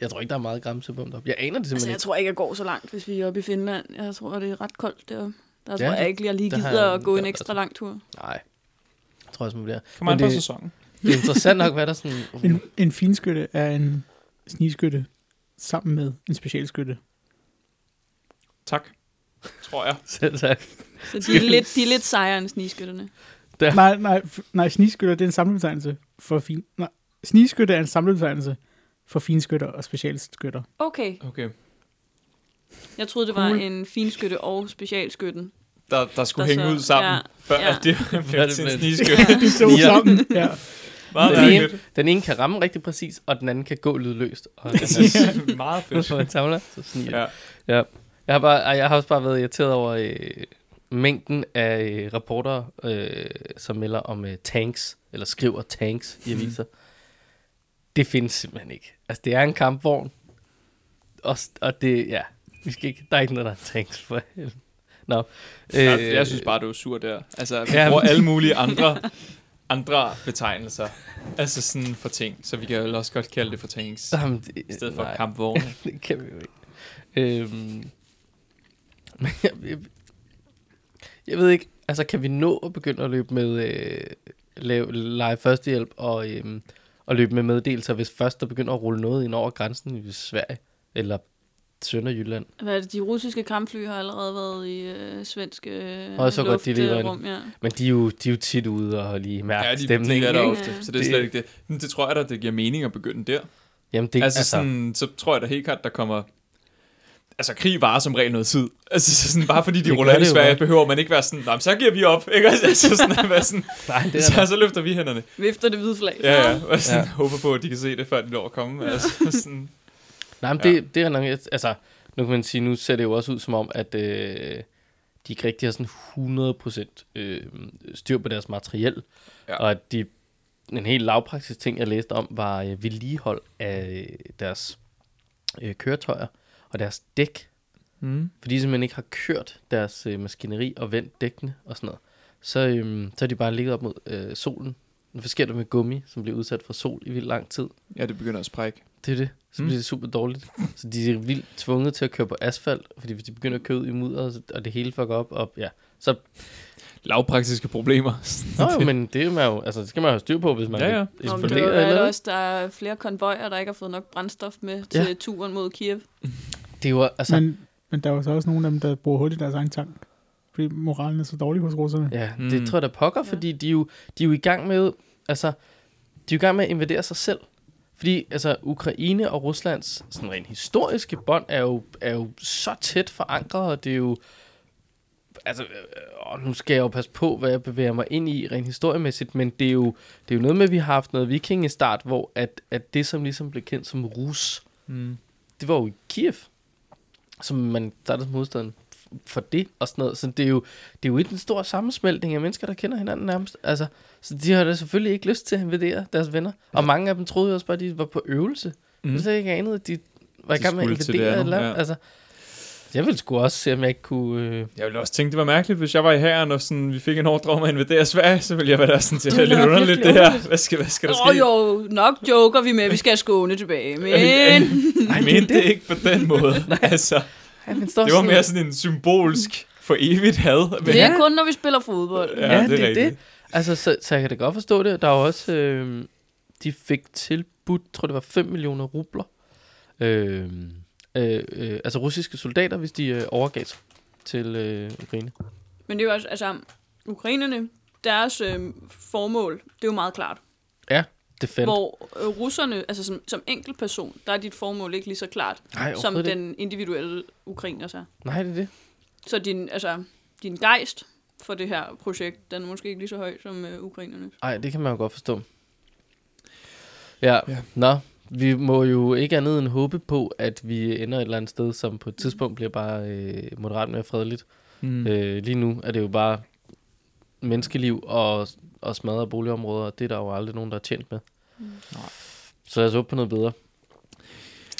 A: Jeg tror ikke, der er meget grænsebom deroppe. Jeg aner det
D: Altså,
A: simpelthen
D: jeg tror ikke, jeg går så langt, hvis vi er oppe i Finland. Jeg tror, det er ret koldt deroppe. Der
A: Ja,
D: tror jeg ikke, jeg lige
A: der har
D: gider
A: jeg-
D: at gå
A: der-
D: en ekstra lang tur.
A: ikke. Nej. Jeg tror også, man bliver.
B: Kom an
A: Men
B: på
A: det-
B: sæsonen.
A: Det er interessant nok, hvad der sådan...
C: En, en finskytte er en snigskytte sammen med en specialskytte.
B: Tak. Tror jeg.
A: Selv tak.
D: Så de er lidt, de er lidt sejere end snigskytterne.
A: Ja.
C: Nej, nej, f- nej, snigskytter, det er en samlebetegnelse for fin... Nej, snigskytte er en samlebetegnelse for finskytter og specialskytter.
D: Okay,
B: Okay.
D: jeg troede, det var en finskytte og specialskytten.
B: Der, der skulle
D: Der
B: hænge
D: så-
B: ud sammen,
D: ja,
B: ja, før
D: ja.
B: ja. det
A: Ja,
B: blev
A: det
B: til en
A: blev-
B: sniskytte.
C: De to
A: Ja.
C: sammen, ja.
B: Meget
A: Den ene,
B: mærkeligt.
A: den ene kan ramme rigtig præcis, og den anden kan gå lydløst. Og den er
B: Ja. Meget fedt.
A: Når man samler, så sniger ja.
B: Ja.
A: ja. Jeg har, bare, ej, jeg har også bare været irriteret over øh, mængden af øh, rapporter, øh, som melder om øh, tanks, eller skriver tanks
B: Mhm.
A: i aviser. Mm. Det findes simpelthen ikke. Altså, det er en kampvogn, og, s- og det, ja, vi skal ikke, der er ikke noget, der er tanks for helvede. Nå,
B: Jeg, jeg synes bare, det var sur der. Altså, vi
A: Øh, Ja.
B: bruger alle mulige andre, andre betegnelser. Altså sådan for ting. Så vi kan jo også godt kalde det for tanks.
A: Jamen, det,
B: I stedet for
A: nej.
B: kampvogne.
A: det kan vi jo ikke. Øhm, men jeg, jeg, jeg ved ikke, altså kan vi nå at begynde at løbe med øh, lave, lege førstehjælp og, øhm, og løbe med meddelelser, hvis først der begynder at rulle noget ind over grænsen i Sverige eller Sønderjylland?
D: Hvad er det, de russiske kampfly har allerede været i øh, svenske øh,
A: Og så godt, de lige var
D: luftrum, ja.
A: Men de er jo, de er jo tit ude og lige mærke
B: Ja,
A: ja,
B: de, de er
A: stemningen.
B: der
A: ikke?
D: jo.
B: ofte, så det er
A: Det-
B: slet ikke det. Men det tror jeg da, det giver mening at begynde der.
A: Jamen det,
B: altså, altså sådan, så tror jeg da helt klart, der kommer... Altså, krig varer som regel noget tid. Altså, så sådan, bare fordi de
A: Det
B: ruller
A: gør
B: ind i
A: det jo
B: Sverige,
A: bare.
B: behøver man ikke være sådan, "Nå, men så giver vi op, ikke? Altså, så, sådan, at være sådan,
A: nej, det er
B: så,
A: der.
B: så løfter vi hænderne.
D: Vifter det hvide flag.
B: Ja, ja, og sådan,
A: Ja.
B: ja. håber på, at de kan se det, før de når at komme. Altså, sådan,
A: Nej, men
B: Ja.
A: det, det er nok... et- Altså, nu kan man sige, nu ser det jo også ud som om, at øh, de ikke rigtig har sådan 100% øh, styr på deres materiel. Ja.
B: Ja.
A: Og at de, en helt lavpraktisk ting, jeg læste om, var øh, vedligehold af øh, deres øh, køretøjer og deres dæk.
B: mm.
A: Fordi de simpelthen ikke har kørt deres øh, maskineri og vendt dækkene og sådan noget. Så, øh, så har de bare ligget op mod øh, solen. Hvad sker der med gummi, som bliver udsat for sol i vildt lang tid?
B: ja, det begynder at sprække.
A: Det er det. Så
B: Mm.
A: bliver det super dårligt. Så de er vildt tvunget til at køre på asfalt, fordi hvis de begynder at køre ud i mudder, så- og det hele fucker op, og ja. Så,
B: Lavpraktiske problemer.
A: nå jo, men det, er man jo, altså, det skal man jo have styr på, hvis man
B: Ja, ja.
A: vil
D: Nå, men
A: ekspandere
D: det er
A: eller
D: der
A: noget.
D: også, der er flere konvojer, der ikke har fået nok brændstof med til
A: Ja.
D: turen mod Kiev.
A: Det er jo, altså,
C: Men, men der var så også nogle af dem, der bruger hul i deres egen tank. Fordi moralen er så dårlig hos russerne.
A: ja,
B: Mm.
A: det tror jeg, der pokker,
D: Ja.
A: fordi de er, jo, de er jo i gang med, altså, de er jo i gang med at invadere sig selv. Fordi altså, Ukraine og Ruslands sådan rent historiske bånd er jo, er jo så tæt forankret, og det er jo... Altså, øh, åh, nu skal jeg jo passe på, hvad jeg bevæger mig ind i rent historiemæssigt, men det er jo, det er jo noget med, at vi har haft noget vikingestart, hvor at, at det, som ligesom blev kendt som Rus,
B: Mm.
A: det var jo i Kiev, som man startede modstanden f- for det og sådan noget. Så det er jo, det er jo ikke en stor sammensmeltning af mennesker, der kender hinanden nærmest. Altså, så de har da selvfølgelig ikke lyst til at invadere deres venner. Og mange af dem troede jo også bare, at de var på øvelse. Mm.
B: Mm.
A: Jeg ikke anede, at de var i
B: De
A: gang med at
B: skulle til det
A: invadere
B: andet,
A: eller
B: ja.
A: ja. altså, Jeg ville sgu også se, om jeg ikke kunne... Øh,
B: Jeg ville også tænke, det var mærkeligt, hvis jeg var i hæren, og sådan, vi fik en ordre om at invadere Sverige, så ville jeg være der sådan til,
D: Det
B: det er lidt
D: lyder
B: underligt det
D: virkelig
B: her. Hvad skal, hvad skal der
D: Åh
B: ske?
D: jo, nok joker vi med, at vi skal have skåne tilbage. Men
B: Jeg mente det ikke på den måde. altså,
A: ja, men står
B: det var
A: sådan-
B: mere sådan en symbolsk for evigt had. Men,
D: det er kun, når vi spiller fodbold.
A: Ja, det er det. Altså, så, så jeg kan da godt forstå det. Der er jo også, øh, de fik tilbudt, tror det var 5 millioner rubler. Øh, øh, øh, altså russiske soldater, hvis de øh, overgav sig til øh, Ukraine.
D: Men det er jo også, altså, ukrainerne, deres øh, formål, det er jo meget klart.
A: Det fandt.
D: Hvor øh, russerne, altså som, som enkeltperson, der er dit formål ikke lige så klart,
A: Nej,
D: som
A: overhovedet
D: den individuelle ukrainer er.
A: ikke. Nej, det er det.
D: Så din, altså, din gejst for det her projekt, den er måske ikke lige så høj som øh, ukrainerne.
A: Nej, det kan man jo godt forstå. Ja,
B: Ja.
A: ja. nå. Vi må jo ikke andet end håbe på, at vi ender et eller andet sted, som på et tidspunkt bliver bare øh, moderat mere fredeligt.
B: Mm.
A: Øh, lige nu er det jo bare menneskeliv og, og smadrede boligområder, og det er der jo aldrig nogen, der er tjent med. Mm.
B: Nej.
A: Så lad os op på noget bedre.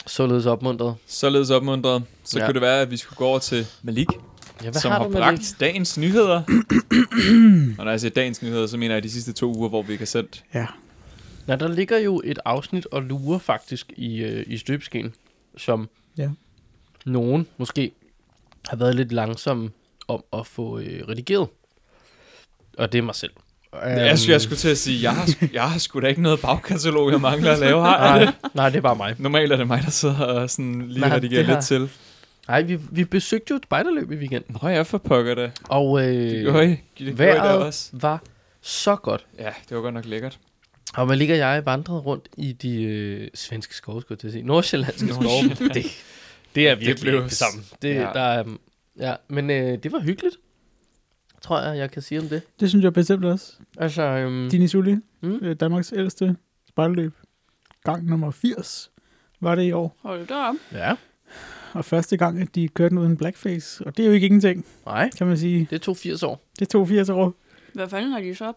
A: Således opmuntret.
B: Således opmuntret, så ja.
A: Ja.
B: kunne det være, at vi skulle gå over til Malik,
A: Ja,
B: som har,
A: du med
B: bragt
A: det?
B: dagens nyheder. og når jeg siger dagens nyheder, så mener jeg de sidste to uger, hvor vi ikke har sendt.
C: Ja.
A: Nå, der ligger jo et afsnit og lurer faktisk i, øh, i støbeskeen, som
C: Ja.
A: nogen måske har været lidt langsomme om at få øh, redigeret. Og det er mig selv. Øhm,
B: Jeg, skulle, jeg skulle til at sige, jeg har, sgu- jeg har sgu da ikke noget bagkatalog, jeg mangler at lave. Har jeg det?
A: Nej, nej, det er bare mig.
B: Normalt er det mig, der sidder og sådan lige
A: Nej,
B: redigerer
A: det har-
B: lidt til.
A: Nej, vi, vi besøgte jo et spejderløb i weekenden.
B: Nå, jeg for pokker det.
A: Og
B: Det
A: øh,
B: gjorde I. Det gjorde I der
A: Vejret
B: også.
A: var så godt.
B: Ja, det var godt nok lækkert.
A: Og man ligger jeg vandrede rundt i de øh, svenske skove, skulle jeg til at sige. Nordsjællandske skove.
B: Nordsjælland.
A: Det, det er
B: Det
A: virkelig det
B: blev-
A: blev... ikke det samme. Det,
B: Ja.
A: ja. Der, er, mm, ja, men øh, det var hyggeligt, tror jeg, jeg kan sige om det.
C: Det synes jeg bestemt også.
A: Altså, øhm,
C: Dini Sully,
A: Mm.
C: mm. Danmarks ældste spejlløb, gang nummer 80, var det i år.
D: Hold da op.
A: ja,
C: Og første gang, at de kørte den uden blackface. Og det er jo ikke ingenting,
A: nej,
C: kan man sige.
A: det tog 80 år.
C: Det tog 80 år.
D: Hvad fanden har de så?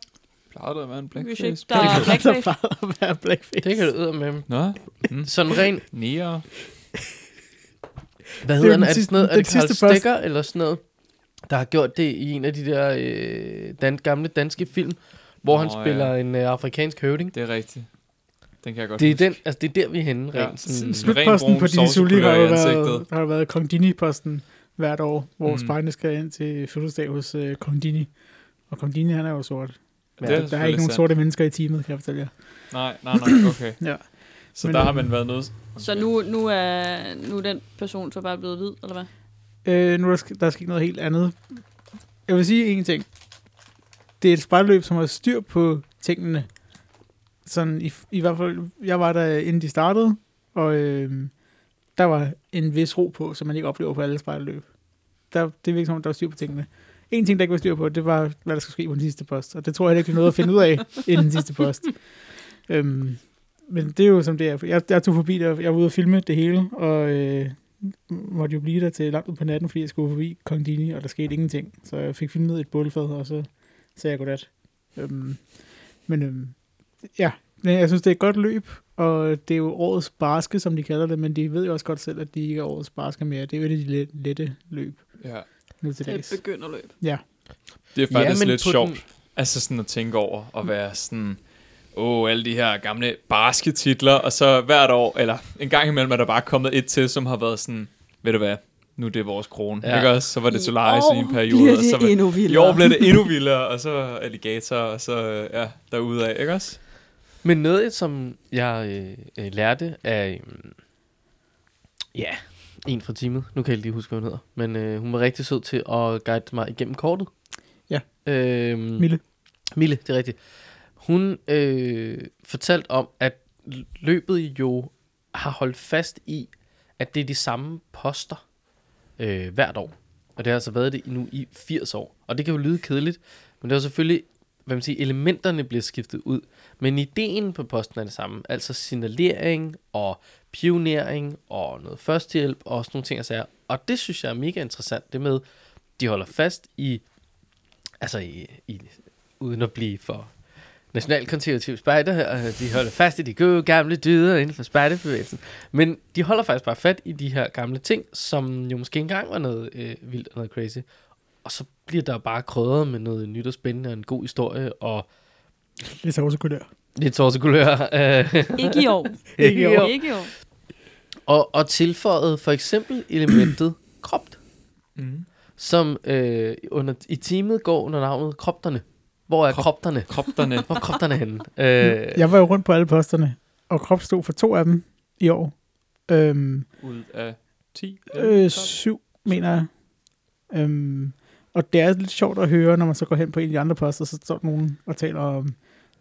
B: Plejede der at være en
D: Hvis
B: blackface?
D: ikke der er blackface.
C: plejede Altså, at være blackface.
A: Det kan du ud med.
B: Nå, mm.
A: Sådan ren,
B: Nier.
A: hvad hedder
C: den
A: den? Er det
C: sidste-
A: sådan noget, er
C: den
A: det Carl
C: sidste post.
A: Stikker eller sådan noget, der har gjort det i en af de der øh, dan- gamle danske film, hvor
B: Nå,
A: oh, han
B: ja.
A: spiller ja. en øh, afrikansk høvding?
B: Det er rigtigt. Den kan jeg godt
A: Det er,
B: huske.
A: den, altså, det er der, vi er henne,
B: Ja.
A: rent. sådan,
C: Slutposten
B: Ren brun
C: på Dini Sully har
B: sovsekulør
C: jo
B: i
C: været,
B: ansigtet.
C: der har været Kong Dini-posten hvert år, hvor
B: Mm.
C: mm. spejlene skal ind til fødselsdag hos uh, Kong Dini. Og Kong Dini, han er jo sort.
B: Ja,
A: Ja,
B: det
C: Der er ikke nogen
B: selvfølgelig
C: sorte mennesker i teamet, kan jeg fortælle jer.
B: sandt. Nej, nej, nej, okay.
C: Ja.
B: Så
C: Men,
B: der har
C: øhm,
B: man været nødt.
D: Så nu, nu, er, nu er den person så bare blevet hvid, eller hvad?
C: Øh, nu er der, sk- der er sket noget helt andet. Jeg vil sige en ting. Det er et spejlløb, som har styr på tingene. Sådan i, i hvert fald, jeg var der, inden de startede, og øh, der var en vis ro på, som man ikke oplever på alle spejlløb. Der, det virker som om, der var styr på tingene. En ting, der ikke var styr på, det var, hvad der skulle ske på den sidste post. Og det tror jeg heller ikke, vi nåede at finde ud af inden den sidste post. Øhm, men det er jo som det er. Jeg, jeg tog forbi der, jeg var ude og filme det hele, og øh, måtte jo blive der til langt ud på natten, fordi jeg skulle forbi Kong Dini, og der skete ingenting. Så jeg fik filmet et bålfad, og så sagde jeg godnat. Øhm, men øhm, ja, men jeg synes, det er et godt løb, og det er jo årets barske, som de kalder det, men de ved jo også godt selv, at de ikke er årets barske mere. Det er jo et af de let- lette løb
B: Ja.
C: nu til
D: Det er
C: dags.
D: et begynderløb.
B: Det er faktisk ja,
A: men på
B: lidt
A: den-
B: sjovt. Den... Altså sådan at tænke over og være sådan... Åh, oh, alle de her gamle barske titler, og så hvert år, eller en gang imellem, er der bare kommet et til, som har været sådan, ved du hvad, nu er det vores krone, ja.
A: Ja.
B: ikke også? Så var det Solaris i en periode,
D: bliver
B: og så
D: det
B: var,
D: endnu
B: i år
D: vildere.
B: blev det endnu vildere, og så alligator, og så ja, derudad, ikke også?
A: Men noget, som jeg øh, øh, lærte af... Øh, ja, en fra teamet. Nu kan jeg ikke lige huske, hvad hun hedder. Men øh, hun var rigtig sød til at guide mig igennem kortet.
C: Ja.
A: Øh,
C: Mille.
A: Mille, det er rigtigt. Hun øh, fortalte om, at l- løbet jo har holdt fast i, at det er de samme poster øh, hvert år. Og det har altså været det nu i 80 år. Og det kan jo lyde kedeligt, men det er jo selvfølgelig, hvad man siger, elementerne bliver skiftet ud. Men ideen på posten er det samme. Altså signalering og pionering og noget førstehjælp og sådan nogle ting. Altså, og det synes jeg er mega interessant, det med, de holder fast i, altså i, i uden at blive for nationalkonservative spejder, og de holder fast i de gode gamle dyder inden for spejderbevægelsen. Men de holder faktisk bare fat i de her gamle ting, som jo måske ikke engang var noget øh, vildt og noget crazy. Og så bliver der bare krødret med noget nyt og spændende og en god historie og
C: Lidt sovsekulør.
A: lidt torsekulør. Øh,
D: Ikke i år.
A: Ikke i år.
D: Ikke i år.
A: og, og tilføjet for eksempel elementet kropt,
B: Mm.
A: som øh, under, i teamet går under navnet kropterne. Hvor er
B: Krop-
A: kropterne?
B: Kropterne.
A: Hvor er kropterne henne? Øh,
C: Jeg var jo rundt på alle posterne, og krop stod for to af dem i år. Øhm,
B: ud af 10.
C: øh, syv, mener jeg. Øhm, og det er lidt sjovt at høre, når man så går hen på en af de andre poster, så står der nogen og taler om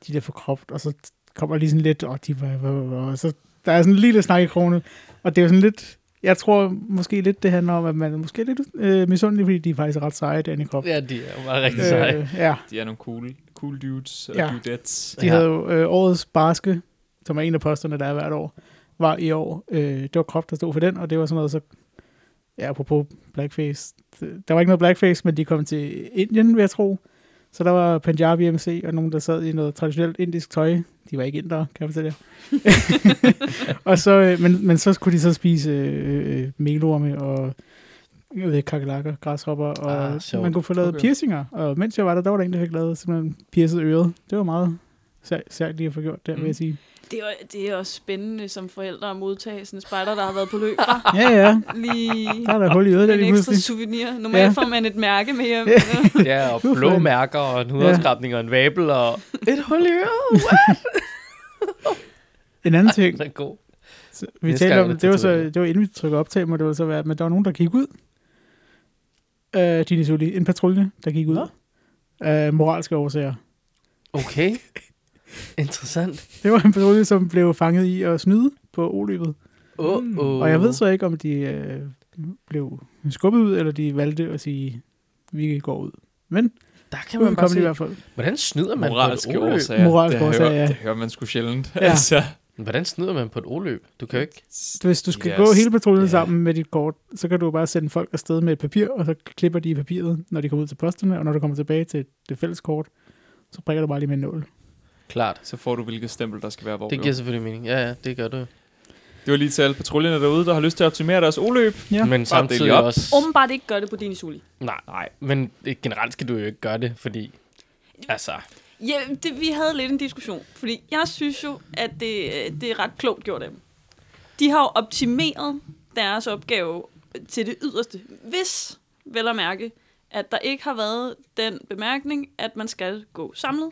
C: de der for kropt, og så kommer lige sådan lidt, og de var, var, var, og så der er sådan en lille snak i krone, og det er jo sådan lidt, jeg tror måske lidt, det handler om, at man er måske er lidt øh, misundelig, fordi de er faktisk ret seje, den i krop.
A: ja, de er jo bare rigtig seje.
C: Øh, ja.
B: De er nogle cool, cool dudes og
C: Ja.
B: ja. dudettes.
C: De
A: Ja.
C: ja. havde jo øh, årets barske, som er en af posterne, der er hvert år, var i år. Øh, det var Krop, der stod for den, og det var sådan noget, så... Ja, apropos blackface. det- Der var ikke noget blackface, men de kom til Indien, vil jeg tro. Så der var Punjabi MC og nogen, der sad i noget traditionelt indisk tøj. De var ikke indere, kan jeg fortælle jer. og så, øh, men, men så skulle de så spise øh, øh, melorme og jeg ved, ikke, kakelakker, græshopper, og
A: Ah, sjovt.
C: man kunne få lavet
B: Okay.
C: okay. piercinger. Og mens jeg var der, der var der en, der fik lavet simpelthen piercet øret. Det var meget sær- særligt lige at få gjort der, mm. vil
B: Mm.
C: jeg sige.
D: Det er, det er også spændende som forældre at modtage sådan en spejder, der har været på løb. Bare
C: Ja, ja.
D: Lige
C: Der er der hul i øret, der
D: en
C: lige
D: ekstra
C: pludselig.
D: souvenir. Normalt
C: Ja.
D: får man et mærke med hjem.
A: Ja, og
C: Nu får
A: blå
C: jeg-
A: mærker, og en hudafskrabning, og en vabel, og et hul i øret.
C: En anden ting,
A: Den er god.
C: så vi
A: Næste
C: talte
A: gang
C: om,
A: er det
C: det var, så,
A: tatoveringer.
C: det var inden vi trykkede optag, må det var så være, men der var nogen, der gik ud. Øh, Dini Suli, en patrulje, der gik ud. Øh, moralske årsager.
A: Okay. Interessant.
C: Det var en patrulje, som blev fanget i at snyde på oløbet.
A: Oh,
B: Mm.
A: oh.
C: Og jeg ved så ikke, om de øh, blev skubbet ud, eller de valgte at sige, vi går ud. Men
A: Der kan man
C: ud
A: bare
C: Mm, kom de i
A: se.
C: hvert fald.
A: Hvordan snyder man på
B: Moralske
A: et oløb?
B: årsager.
C: Moralske
B: det
C: årsager,
B: hører,
C: ja.
B: Det hører man sgu sjældent.
C: Ja.
B: Ja. Altså,
A: Hvordan snyder man på et oløb? Du kan jo ikke...
C: Hvis du skal
B: Yes,
C: yes, gå hele patruljen
B: det er-
C: yeah. sammen med dit kort, så kan du bare sende folk afsted med et papir, og så klipper de i papiret, når de kommer ud til posterne, og når du kommer tilbage til det fælles kort, så prikker du bare lige med en nål.
A: Klart.
B: så får du, hvilket stempel, der skal være hvor.
A: Det
B: Det,
A: giver selvfølgelig mening. Ja, ja, det gør du.
B: det var lige til alle patruljerne derude, der har lyst til at optimere deres oløb.
A: Ja.
C: Ja. Um.
A: Men samtidig
B: del op.
A: også...
D: Åbenbart ikke gør det på din suli.
A: Nej, nej. Men øh, generelt skal du jo ikke gøre det, fordi... Altså,
D: Ja, det, vi havde lidt en diskussion, fordi jeg synes jo, at det, øh, det er ret klogt gjort af dem. De har jo optimeret deres opgave til det yderste, hvis, vel at mærke, at der ikke har været den bemærkning, at man skal gå samlet.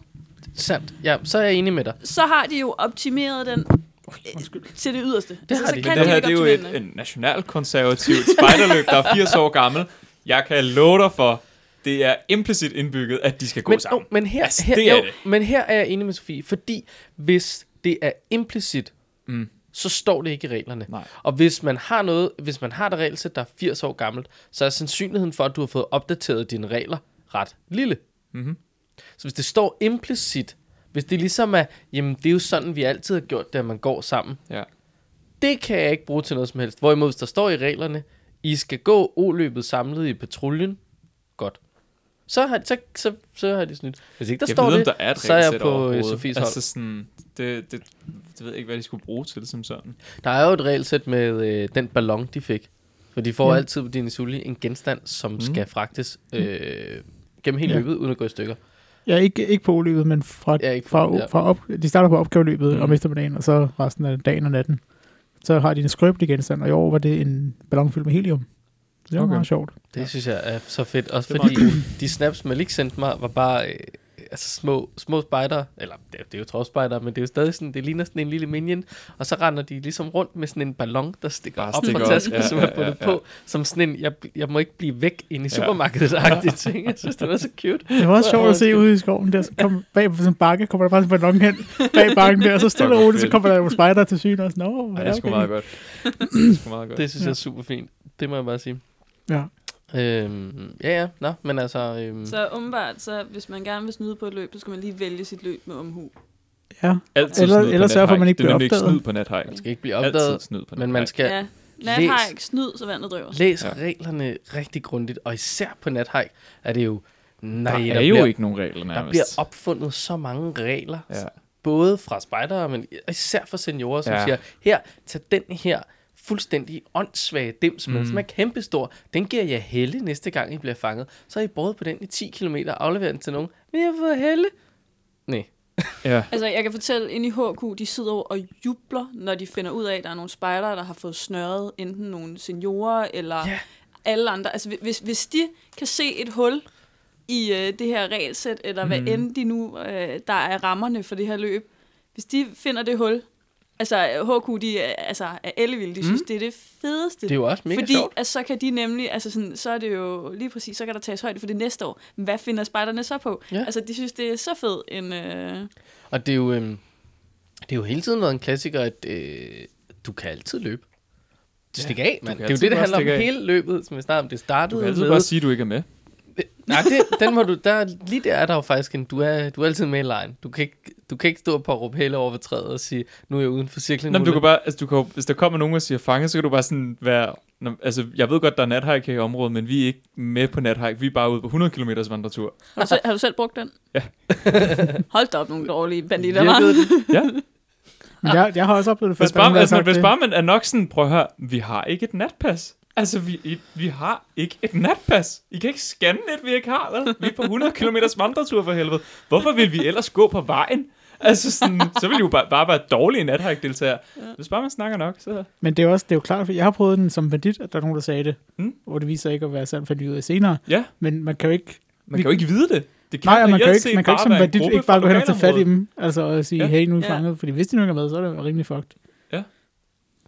A: sandt. Ja, så er jeg enig med dig.
D: Så har de jo optimeret den øh, til det yderste. Det
A: har
D: så
A: de.
D: Kan
B: Men det
D: de
B: her
D: ikke
B: det er jo
D: optimere den.
B: et, et nationalkonservativt spejderløb, der er 80 år gammel. Jeg kan love dig for, det er implicit indbygget, at de skal gå
A: men, oh,
B: sammen.
A: jo, men her,
B: Altså,
A: her,
B: det er
A: jo,
B: det.
A: men her er jeg enig med Sofie, fordi hvis det er implicit,
B: Mm.
A: så står det ikke i reglerne.
B: Nej.
A: Og hvis man har noget, hvis man har et regelsæt, der er 80 år gammelt, så er sandsynligheden for, at du har fået opdateret dine regler ret lille.
B: Mhm.
A: Så hvis det står implicit, hvis det ligesom er, jamen det er jo sådan, vi altid har gjort det, at man går sammen.
B: Ja.
A: Det kan jeg ikke bruge til noget som helst. Hvorimod, hvis der står i reglerne, I skal gå oløbet samlet i patruljen, godt. Så har, så, så, så har de snydt. Hvis ikke der
B: jeg
A: står
B: ved,
A: det,
B: om der er et
A: så er jeg
B: regelsæt
A: på øh,
B: overhovedet.
A: Sofies hold.
B: altså, sådan, det, det, det ved jeg ikke, hvad de skulle bruge til som sådan.
A: Der er jo et regelsæt med øh, den ballon, de fik. For de får
C: Ja.
A: altid på din Sulli en genstand, som mm. skal fragtes øh, gennem hele
C: Ja.
A: løbet, uden at gå i stykker.
C: Ja, ikke, ikke på oløbet, men fra,
A: Ja,
C: ja,
A: ikke
C: ikke fra,
A: på- ja.
C: ja. fra op, de starter på opgaveløbet
A: Mm.
C: mm. om eftermiddagen, og så resten af dagen og natten. Så har de en skrøbelig genstand, og i år var det en ballon fyldt med helium. Så det
B: Okay.
C: var okay. meget sjovt.
A: Det ja. synes jeg er så fedt. Også
B: Det er
A: fordi de snaps, Malik sendte mig, var bare øh, altså små, små spejder. Eller det, er- det er jo trovspejder, men det er jo stadig sådan, det ligner sådan en lille minion. Og så render de ligesom rundt med sådan en ballon, der stikker
B: Bare
A: op
B: stikker
A: fra
B: op.
A: tasken,
B: Ja,
A: som
B: ja,
A: er bundet
B: ja,
A: på.
B: ja.
A: Som sådan en, jeg, jeg må ikke blive væk inde i
B: Ja.
A: supermarkedet-agtige ting. Jeg synes, det var så cute.
C: Det var også
A: Det var
C: sjovt at
A: også
C: se ude i skoven der, så kom bag på sådan en bakke, kommer der bare sådan en ballon hen bag bakken der, og så stille
B: Det
C: og
B: var
C: roligt, så
B: fedt.
C: kommer der nogle spejder til syne og sådan, Nå,
B: Ej,
C: ja,
B: det er sgu
C: okay."
B: meget godt. Det er sgu meget godt.
A: Det synes
C: Ja.
A: jeg er super fint. Det må jeg bare sige.
C: Ja.
A: Øhm, ja, ja. Nå, men altså... Øhm,
D: Så åbenbart, så hvis man gerne vil snyde på et løb, så skal man lige vælge sit løb med omhu.
C: Ja,
B: Altid
C: Eller-
B: snyd på
C: eller sørge for, at man
B: nethike.
C: ikke
B: Det er
C: bliver
B: nemlig ikke
C: opdaget.
B: snyd på nethike.
A: Man skal ikke blive
B: Altid
A: opdaget,
B: snyd på
A: men man
B: nethike.
A: skal ja,
D: Ja, nat har ikke snyd, så vandet drøver.
A: læse
B: Ja.
A: reglerne rigtig grundigt, og især på nathajk er det jo Nej, der,
B: der,
A: der
B: er jo
A: bliver,
B: ikke nogen regler nærmest.
A: Der bliver opfundet så mange regler, ja.
B: Ja.
A: både fra spejdere, men især fra seniorer, som ja.
B: Ja.
A: siger, her, tag den her fuldstændig åndssvage dims med, mm.
B: Mm.
A: som er kæmpestor. Den giver jeg helle næste gang, I bliver fanget. Så har I båret på den i 10 km og afleveret den til nogen. Men jeg har fået helle. Nej.
B: Ja.
D: Altså, jeg kan fortælle, ind i HQ, de sidder jo og jubler, når de finder ud af, at der er nogle spejdere, der har fået snørret enten nogle seniorer eller
A: Ja.
D: yeah. alle andre. Altså, hvi- hvis, hvis de kan se et hul i øh, det her regelsæt, eller mm. hvad
A: Mhm.
D: end de nu, øh, der er rammerne for det her løb, hvis de finder det hul, altså øh, HQ, de er, altså, er ellevilde, de mm. synes, det er det fedeste.
A: Mhm. Det er jo også mega
D: fordi,
A: sjovt.
D: Altså, så kan de nemlig, altså sådan, så er det jo lige præcis, så kan der tages højde for det næste år. Hvad finder spejderne så på?
A: Ja.
D: Altså, de synes, det er så fed en... Øh,
A: Og det er jo, øhm, det er jo hele tiden været en klassiker, at øh, du kan altid løbe. Stik af, mand. Det
B: kan
A: er jo
B: altid
A: det, det
B: bare
A: handler om
B: stikke af.
A: hele løbet, som vi snakker om. Det
B: Du
A: startede
B: kan altid
A: med...
B: bare sige, at du ikke er med.
A: Nej, det, den må du, der, lige der er der jo faktisk en, du er, du er altid med i lejen. Du kan ikke, du kan ikke stå på at råbe hæle over ved træet og sige, nu er jeg uden for cirklen.
B: Nå, men du
A: Ulla."
B: kan bare, altså, du kan, jo- hvis der kommer nogen og siger fange, så kan du bare sådan være... Nå, altså, jeg ved godt, der er nathike her i området, men vi er ikke med på nathike. Vi er bare ude på 100 km vandretur.
D: Har du, selv, har du selv brugt den?
B: Ja.
D: Hold da op, nogle dårlige banditter,
A: Virkede
D: var.
A: den?
B: Ja,
C: Men jeg, jeg har også oplevet det før.
B: hvis
C: der er nogen,
B: bare,
C: der
B: altså,
C: har
B: men
C: sagt
B: hvis
C: det.
B: bare man er nok sådan, prøv at høre, vi har ikke et natpas. Altså, vi, vi har ikke et natpas. I kan ikke scanne et, vi ikke har, vel? Vi er på 100 km vandretur for helvede. Hvorfor vil vi ellers gå på vejen? Altså, sådan, så vil I jo bare, bare være dårlige nathike-deltagere. Hvis bare man snakker nok, så...
C: Men det er, også, det er jo klart, for jeg har prøvet den som bandit, at der er nogen, der sagde det.
B: Mm.
C: Hvor det viser sig ikke at være sandt, fandt vi ud af senere.
B: Ja,
C: Men man kan jo ikke...
B: man kan jo ikke vide det. Det
C: Nej, og man
B: reelt
C: kan jo ikke,
B: set
C: man kan jo ikke som
B: være en
C: bandit
B: gruppe
C: ikke bare
B: fra
C: gå hen og tage fat i
B: lokalområdet.
C: dem. Altså og sige,
B: Ja.
C: hey, nu er I
D: Ja.
C: fanget. Fordi hvis de nu ikke er med, så er det jo rimelig fucked.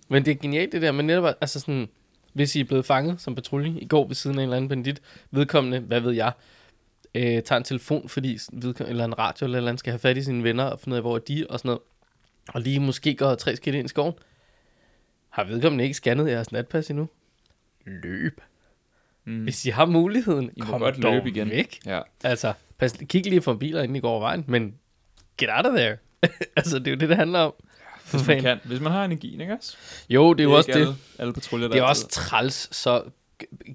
A: Men det er genialt det der, men netop, altså sådan, hvis I er blevet fanget som patrulje i går ved siden af en eller anden bandit, vedkommende, hvad ved jeg, øh, tager en telefon, fordi sådan vedkommende, eller en radio eller, et eller andet skal have fat i sine venner og finde ud af, hvor er de og sådan noget, og lige måske går tre skridt ind i skoven, har vedkommende ikke scannet jeres natpas endnu? Løb. Mm. Hvis I har muligheden,
B: I må
A: kom
B: godt
A: dog
B: løbe igen.
A: væk.
B: Ja.
A: Altså, pas, kig lige for biler, inden I går over vejen, men get out of there. altså, det er jo det, det handler om. For
B: Hvis man
A: fanden.
B: kan. Hvis man har energien, ikke også? Det
A: Jo, det er jo også
B: ikke
A: det.
B: Alle, alle patruljer, der
A: Det er
B: altid-
A: også træls, så,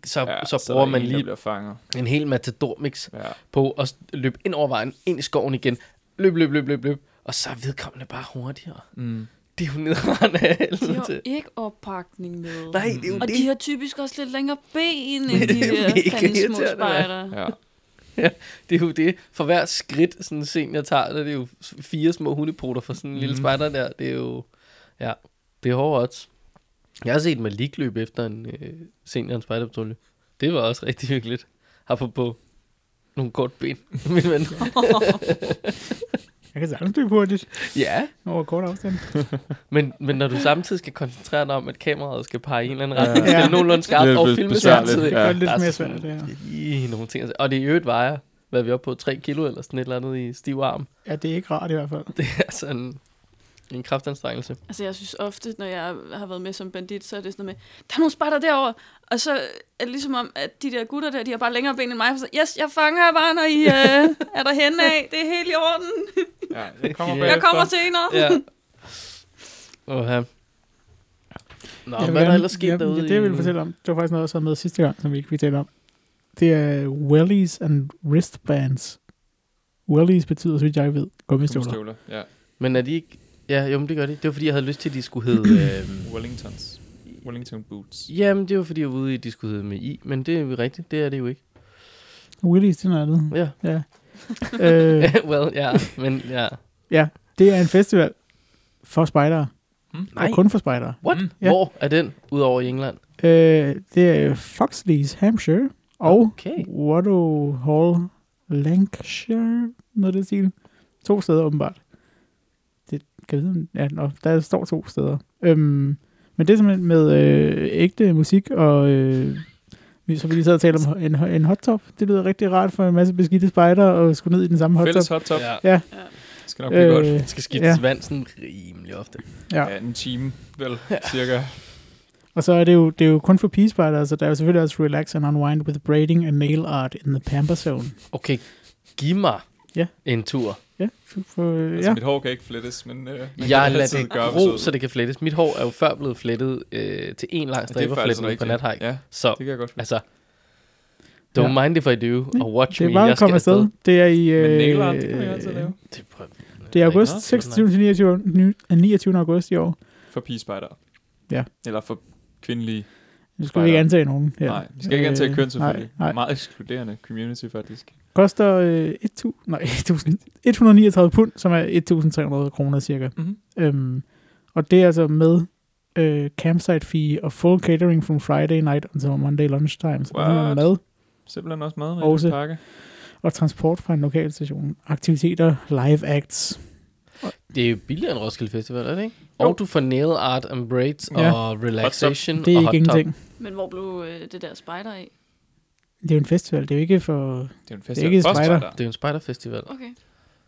A: så, ja, så
B: er
A: bruger
B: der
A: man
B: en,
A: lige Mm.
B: Der bliver fanget.
A: en hel matadormix
B: Ja.
A: på at s- løbe ind over vejen, ind i skoven igen. Løb, løb, løb, løb, løb. Og så er vedkommende bare hurtigere.
B: Mm.
A: Det er jo nedrørende af
D: De
A: helvede
D: har jo
A: til.
D: ikke oppakning med.
A: Nej, det er jo
D: Og
A: det.
D: de har typisk også lidt længere ben end de
A: Det er mega
D: der fandens små
A: irriterende, mand.
D: spejdere.
B: Ja.
A: Det er jo det. For hver skridt, sådan en scene, jeg tager, der er det jo s- fire små hundepoter fra sådan en lille
B: Mhm.
A: spejder der. Det er jo... Ja, det er hårdt odds. Jeg har set Malik løbe efter en øh, senior en spejderpatrulje. Det var også rigtig hyggeligt. Har på på nogle kort ben, min ven.
C: Jeg kan sagtens løbe hurtigt
A: ja,
C: over kort afstand.
A: men, men når du samtidig skal koncentrere dig om, at kameraet skal pege i en eller anden retning,
C: Ja.
A: ja. skal nogenlunde
B: Det
A: skarpt
B: er
A: og
B: lidt
A: filme
B: besværligt,
A: samtidig.
C: Det
B: Ja.
C: gør det lidt
A: Der er
C: mere
A: sådan
C: svært, det her.
A: lige nogle ting. at se. Og det i øvrigt vejer, hvad er vi oppe på, 3 kilo eller sådan et eller andet i stiv arm.
C: Ja, det er ikke rart i hvert fald.
A: Det er sådan en kraftanstrengelse.
D: Altså, jeg synes ofte, når jeg har været med som bandit, så er det sådan noget med, der er nogle spejder derovre. Og så er det ligesom om, at de der gutter der, de har bare længere ben end mig. Så, yes, jeg fanger jer bare, når I øh, er der henne af. Det er helt i orden.
B: ja. Jeg kommer,
A: Jeg
B: bagefter.
D: Jeg kommer senere.
A: Ja. Oha. Nå,
C: Jeg vil
A: hvad er der
C: gerne-
A: ellers sket
C: ja,
A: derude?
C: Ja, det jeg
A: i-
C: ville fortælle om, det var faktisk noget, jeg sad med sidste gang, som vi ikke fik talt om. Det er wellies and wristbands. Wellies betyder, så vidt jeg ved, gummistøvler.
B: Gummistøvler. Ja.
A: Men er de ikke... Ja, jo, men det gør de. Det var fordi, jeg havde lyst til, at de skulle hedde... øhm,
B: Wellingtons. Wellington boots.
A: Jamen, det var fordi, jeg var ude i, at de skulle hedde med I. Men det er jo rigtigt. Det er det jo ikke.
C: Wellies, det er noget andet.
A: Ja.
C: Ja. øh,
A: well, ja. Men ja.
C: det er en festival for spejdere.
A: Nej.
C: Og kun for spejdere.
A: What?
B: Mm.
C: Ja.
A: Hvor er den? Udover i England.
C: Øh, det er Foxleys, Hampshire. Og
A: Okay.
C: Watto Hall, Lancashire, noget af det stil. To steder åbenbart. Det kan jeg vide, om- ja, nå, der står to steder. Øhm, men det er simpelthen med øh, ægte musik, og øh, vi- som vi lige sad og talte om, en, en hot top. Det lyder rigtig rart for en masse beskidte spejder at skulle ned i den samme hot top.
B: Fælles hot top. Ja.
A: Ja.
B: Det skal nok blive øh, godt.
A: Den skal skiftes ja. vand sådan rimelig ofte.
C: ja.
B: Ja, en time, vel, cirka.
C: Og så er det jo, det er jo kun for pige spiders, så der er jo selvfølgelig også relax and unwind with braiding and nail art in the pamper zone.
A: Okay, giv mig
C: Ja.
A: en tur.
C: Ja, for, for, øh,
B: Altså,
C: ja.
B: mit hår kan ikke flettes, men... Øh, man
A: Jeg
B: kan
A: lader
B: altid
A: det
B: gøre
A: gro,
B: forsøget.
A: så det kan flettes. Mit hår er jo før blevet flettet øh, til en lang
B: Ja, Det er faktisk
A: striberfletning på
B: rigtigt.
C: Altså,
A: nathajk. Ja.
B: Ja,
A: Så
B: det kan jeg godt.
A: Altså, Don't
C: Ja.
A: mind if I do, og watch
C: Det er
A: me,
C: bare
A: jeg
C: at komme
A: skal
C: afsted. Det er i...
B: Men
C: øh,
B: nailart, det kan man jo altid lave.
A: Det prøver-
C: Det er
A: Nå,
C: august, 26. til 29. ny- øh, 29. august i år.
B: For pigespejdere.
C: Ja.
B: Eller for kvindelige.
C: Nu skal vi ikke antage nogen her.
B: Ja. Nej, vi skal ikke antage køn selvfølgelig.
C: Øh, Nej, nej.
B: Meget ekskluderende community faktisk.
C: Koster øh, 1.000 nej, 1.000 139 pund, som er 1.300 kroner cirka.
B: Mm-hmm.
C: Øhm, og det er altså med øh, campsite fee og full catering from Friday night until Monday lunchtime. Så der er
B: What?
C: mad
B: Simpelthen også mad med
C: Også.
B: en pakke.
C: og transport fra en lokal station. Aktiviteter, live acts.
A: Mm, Det er jo billigere end Roskilde Festival, er det ikke? Og du får nail art and braids
C: Ja.
A: og relaxation
C: Det er
A: og
C: ikke
A: hot tub.
C: ingenting.
D: Men hvor blev øh, det der spider af?
C: Det er jo en festival. Det er jo ikke for...
B: Det er jo en
C: Det er ikke
B: festival. for os
C: spejder.
A: Det er jo en spejderfestival.
D: Okay.
C: Og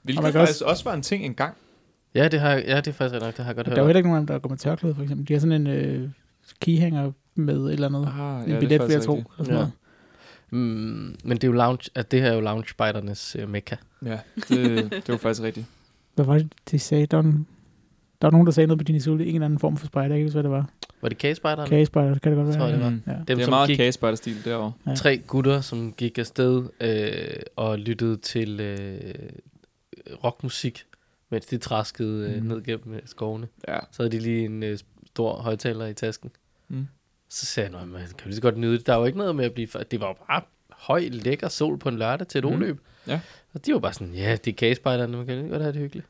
B: Hvilket
C: man kan
B: faktisk også var en ting engang.
A: Ja, det har, ja, det er faktisk ret nok, det har jeg godt
C: Der
A: hørt.
C: er jo
A: om.
C: heller ikke nogen af dem, der går med tørklæde, for eksempel. De har sådan en øh, keyhanger med et eller andet.
B: Ah,
C: en billet, vil jeg tro. eller sådan
A: Ja.
C: noget.
A: Mm, men det er jo lounge, at det her er jo lounge spejdernes øh, mekka.
B: Ja, det, det var faktisk rigtigt.
C: Hvad var det, de sagde? Der var, en, der var nogen, der sagde noget på din isolde. En eller anden form for spejder. Jeg kan ikke huske, hvad det var.
A: Var det kagespejderne?
C: Kagespejder, det kan det godt
A: Tror
C: være.
A: jeg, det var.
B: Mm.
C: Ja.
A: Dem,
B: det er
A: som
B: meget
A: gik,
B: kagespejderstil derovre.
C: Ja.
A: tre gutter, som gik afsted øh, og lyttede til øh, rockmusik, mens de traskede øh,
B: Mm.
A: ned gennem øh, skovene.
B: Ja.
A: Så havde de lige en øh, stor højtaler i tasken.
B: Mm.
A: Så sagde jeg, "Nå, man kan jo lige så godt nyde det. Der er jo ikke noget med at blive... For... Det var jo bare høj, lækker sol på en lørdag til et
B: Mm.
A: mm. oløb.
B: Ja.
A: Og de var bare sådan, ja, det er kagespejderne, man kan lige godt have det hyggeligt.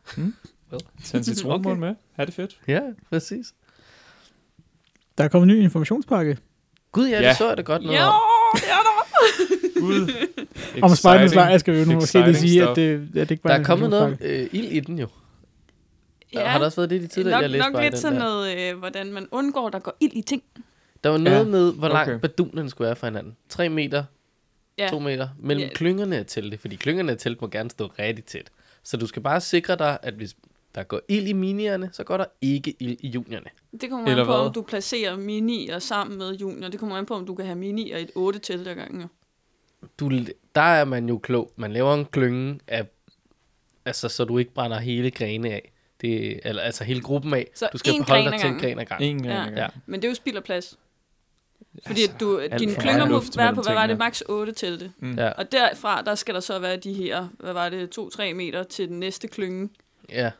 B: Tag en citronmål
A: Okay.
B: med. Ha' det fedt.
A: Ja, præcis.
C: Der er kommet en ny informationspakke.
A: Gud, ja, ja.
B: Ja.
A: det så jeg da godt noget
D: Jo,
A: om.
D: det er der!
B: Ud.
C: Om spejdernes lejr skal vi jo nu måske lige
B: Exciting
C: sige, at
B: stuff.
C: det, at det ikke bare
A: Der er kommet noget om, øh, ild i den jo. Ja. Har der også været det i de tidligere, jeg læste
D: nok, nok
A: bare i
D: lidt
A: den
D: sådan
A: der.
D: noget, øh, hvordan man undgår, der går ild i ting.
A: Der var
B: Ja,
A: noget ja. med, hvor langt
B: okay.
A: okay. badunerne skulle være fra hinanden. 3 meter,
D: Ja.
A: 2 meter, mellem
D: Ja.
A: yeah. klyngerne af teltet, fordi klyngerne af teltet må gerne stå rigtig tæt. Så du skal bare sikre dig, at hvis der går ild i minierne, så går der ikke ild i junierne.
D: Det kommer
B: Eller
D: an på,
B: hvad?
D: om du placerer minier sammen med junior. Det kommer an på, om du kan have minier i et 8 telt ad gangen. jo.
A: Du, der er man jo klog. Man laver en klynge af, altså, så du ikke brænder hele grene af. Det, eller, altså hele gruppen af.
D: Så
A: du skal
D: én
A: holde
D: gren
A: dig
D: ad
A: til en
D: gangen.
A: gren ad gangen.
B: En gang.
A: Ja.
B: Ja.
D: Men det er jo spild af plads. Fordi altså, du,
A: alt
D: dine
A: for
D: klynger
A: meget
D: må
B: luft
D: være
B: mellem
D: på, hvad var det,
B: tingene.
D: maks 8 telte.
B: Mm.
A: Ja.
D: Og derfra, der skal der så være de her, hvad var det, 2-3 meter til den næste klynge.
A: Ja.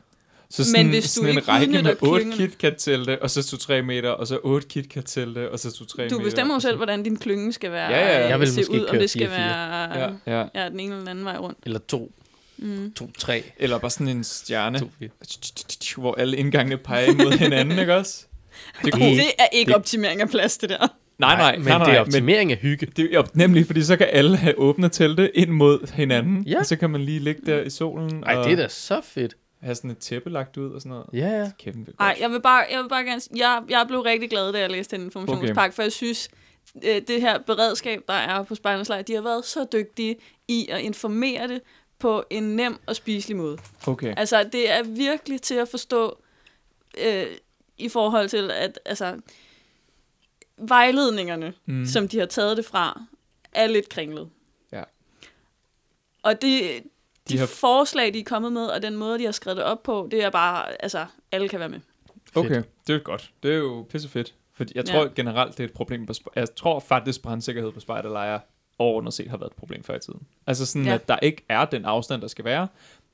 B: Så sådan,
D: Men hvis du
B: sådan en
D: ikke
B: række
D: udnytter
B: med 8
D: klyngerne-
B: KitKat-telte, og så tog 3 meter, og så 8 KitKat-telte, og så tog 3 meter.
D: Du bestemmer jo selv, hvordan din klynge skal være. øh,
B: Ja, ja, ja.
A: Jeg vil
D: se
A: måske
D: ud, om
A: køre
D: det skal
A: 4-4.
D: være ja.
B: Ja, ja.
D: Ja, den ene eller den anden vej rundt.
A: Eller to,
D: Mm.
A: to, tre,
B: Eller bare sådan en stjerne,
A: to, fire.
B: hvor alle indgangene peger mod hinanden, ikke også? Det er
D: Det er ikke
B: det-
D: optimering af plads, det der.
B: Nej, nej,
A: men
B: nej, nej,
A: det er
B: men
A: optimering af hygge.
B: det er jo nemlig, fordi så kan alle have åbne telte ind mod hinanden,
A: Ja.
B: og så kan man lige ligge der i solen
A: Ej,
B: og
A: det er da så fedt.
B: have sådan et tæppe lagt ud og sådan noget.
A: Ja, ja.
B: Kæmpe godt.
D: Nej, jeg vil bare, jeg vil bare gerne s- jeg, jeg blev rigtig glad, da jeg læste den informationspakke, okay. for jeg synes, øh, det her beredskab, der er på Spejlernes Lejr, de har været så dygtige i at informere det på en nem og spiselig måde.
B: Okay.
D: Altså, det er virkelig til at forstå øh, i forhold til, at altså, vejledningerne, mm. som de har taget det fra, er lidt kringlet.
B: Ja.
D: Og det, de,
B: De
D: de
B: har-
D: har... forslag, de er kommet med, og den måde, de har skrevet det op på, det er bare, altså, alle kan være med.
B: Okay, det er godt. Det er jo pissefedt. Fordi jeg
D: Ja.
B: tror generelt, det er et problem på sp- Jeg tror faktisk, brandsikkerhed på spejderlejre overordnet set har været et problem før i tiden. Altså sådan, ja.
D: Ja.
B: at der ikke er den afstand, der skal være.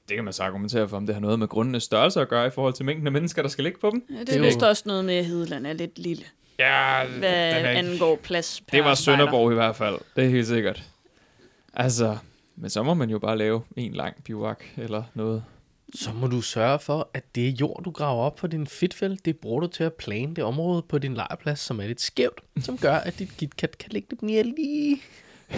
B: Det kan man så argumentere for, om det har noget med grundenes størrelse at gøre i forhold til mængden af mennesker, der skal ligge på dem.
D: Ja,
A: Det
D: det,
A: er
D: det er
A: jo-
D: vist også noget med, at Hedeland er lidt lille,
B: Ja, Mm. den
D: hvad
B: er ikke-
D: angår plads per
B: det var
D: spejder.
B: Sønderborg i hvert fald. Det er helt sikkert. Altså, men så må man jo bare lave en lang bivak eller noget.
A: Så må du sørge for, at det jord, du graver op for din fedtfælde, det bruger du til at plane det område på din lejrplads, som er lidt skævt, som gør, at dit gitkat kan ligge lidt mere lige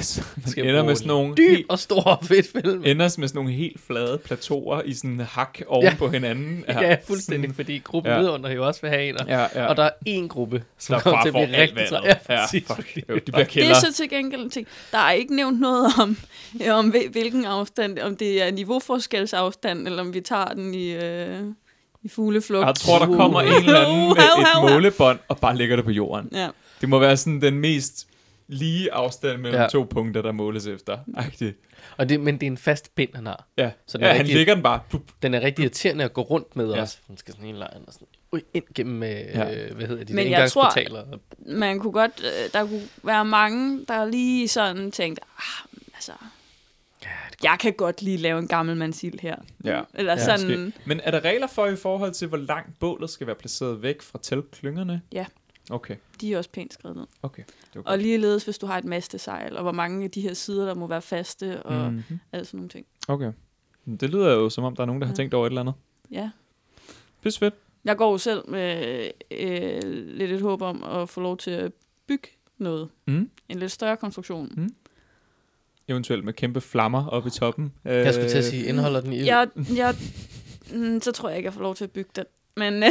B: Så
A: Skal
B: man ender
A: bruge
B: med sådan nogle helt-
A: dyb og stor fedtfælde. mand.
B: ender med sådan nogle helt flade plateauer i sådan en hak oven ja. på hinanden.
A: Ja, fuldstændig, fordi gruppen
B: Mm. Ja.
A: ja. nedenunder jo også vil have en, og-
B: Sådan, ja, ja.
A: og der er én gruppe, som
B: der er
A: kommer
B: far
A: til at
B: for
A: blive
B: alt
A: rigtig træt.
B: vandet.
A: Ja, præcis.
B: fuck. Jo, de bliver
D: Det er
B: kælder.
D: så til gengæld en ting. Der er ikke nævnt noget om, øh, om hvil- hvilken afstand, om det er niveauforskelsafstand, eller om vi tager den i, øh, i fugleflugt.
B: Jeg tror, der kommer en eller anden med
D: Au, au,
B: et
D: au.
B: målebånd og bare lægger det på jorden.
D: Ja.
B: Det må være sådan den mest lige afstand mellem ja.
A: Ja.
B: to punkter, der måles efter. Agtigt.
A: Og det, men det er en fast pind, han har.
B: Ja,
A: Så
B: så
A: den
B: ja
A: er
B: han
A: rigtig-
B: lægger den bare. Pup.
A: Den er rigtig irriterende at gå rundt med
B: Mm. Ja.
A: ja. også. Hun skal sådan hele lejren og sådan. ud- ind gennem, øh, ja. hvad hedder de,
D: Men
A: der
D: jeg tror-
A: indgangsportaler. Tror...
D: man kunne godt, øh, der kunne være mange, der lige sådan tænkte, ah, men altså, jeg kan godt lige lave en gammel mandsil her.
B: Ja.
D: Eller
A: Ja,
D: ja, sådan,
B: Måske. Men er der regler for i forhold til, hvor langt bålet skal være placeret væk fra teltklyngerne?
D: Ja.
B: Okay,
D: de er også pænt skrevet ned.
B: okay. Det var
D: Og ligeledes, hvis du har et mastesejl, og hvor mange af de her sider, der må være faste, og mm.
B: mm-hmm.
D: alt sådan nogle ting.
B: Okay. Mm, Det lyder jo, som om der er nogen, der har
D: Ja.
B: tænkt over et eller andet.
D: Ja.
B: Pis fedt.
D: Jeg går jo selv med øh, lidt et håb om at få lov til at bygge noget.
B: Mm.
D: En lidt større konstruktion.
B: Mm. Eventuelt med kæmpe flammer oppe i toppen. Øh,
A: Jeg skulle til at sige, indeholder den ild?
D: Jeg, jeg, mm, så tror jeg ikke, jeg får lov til at bygge den. Men øh,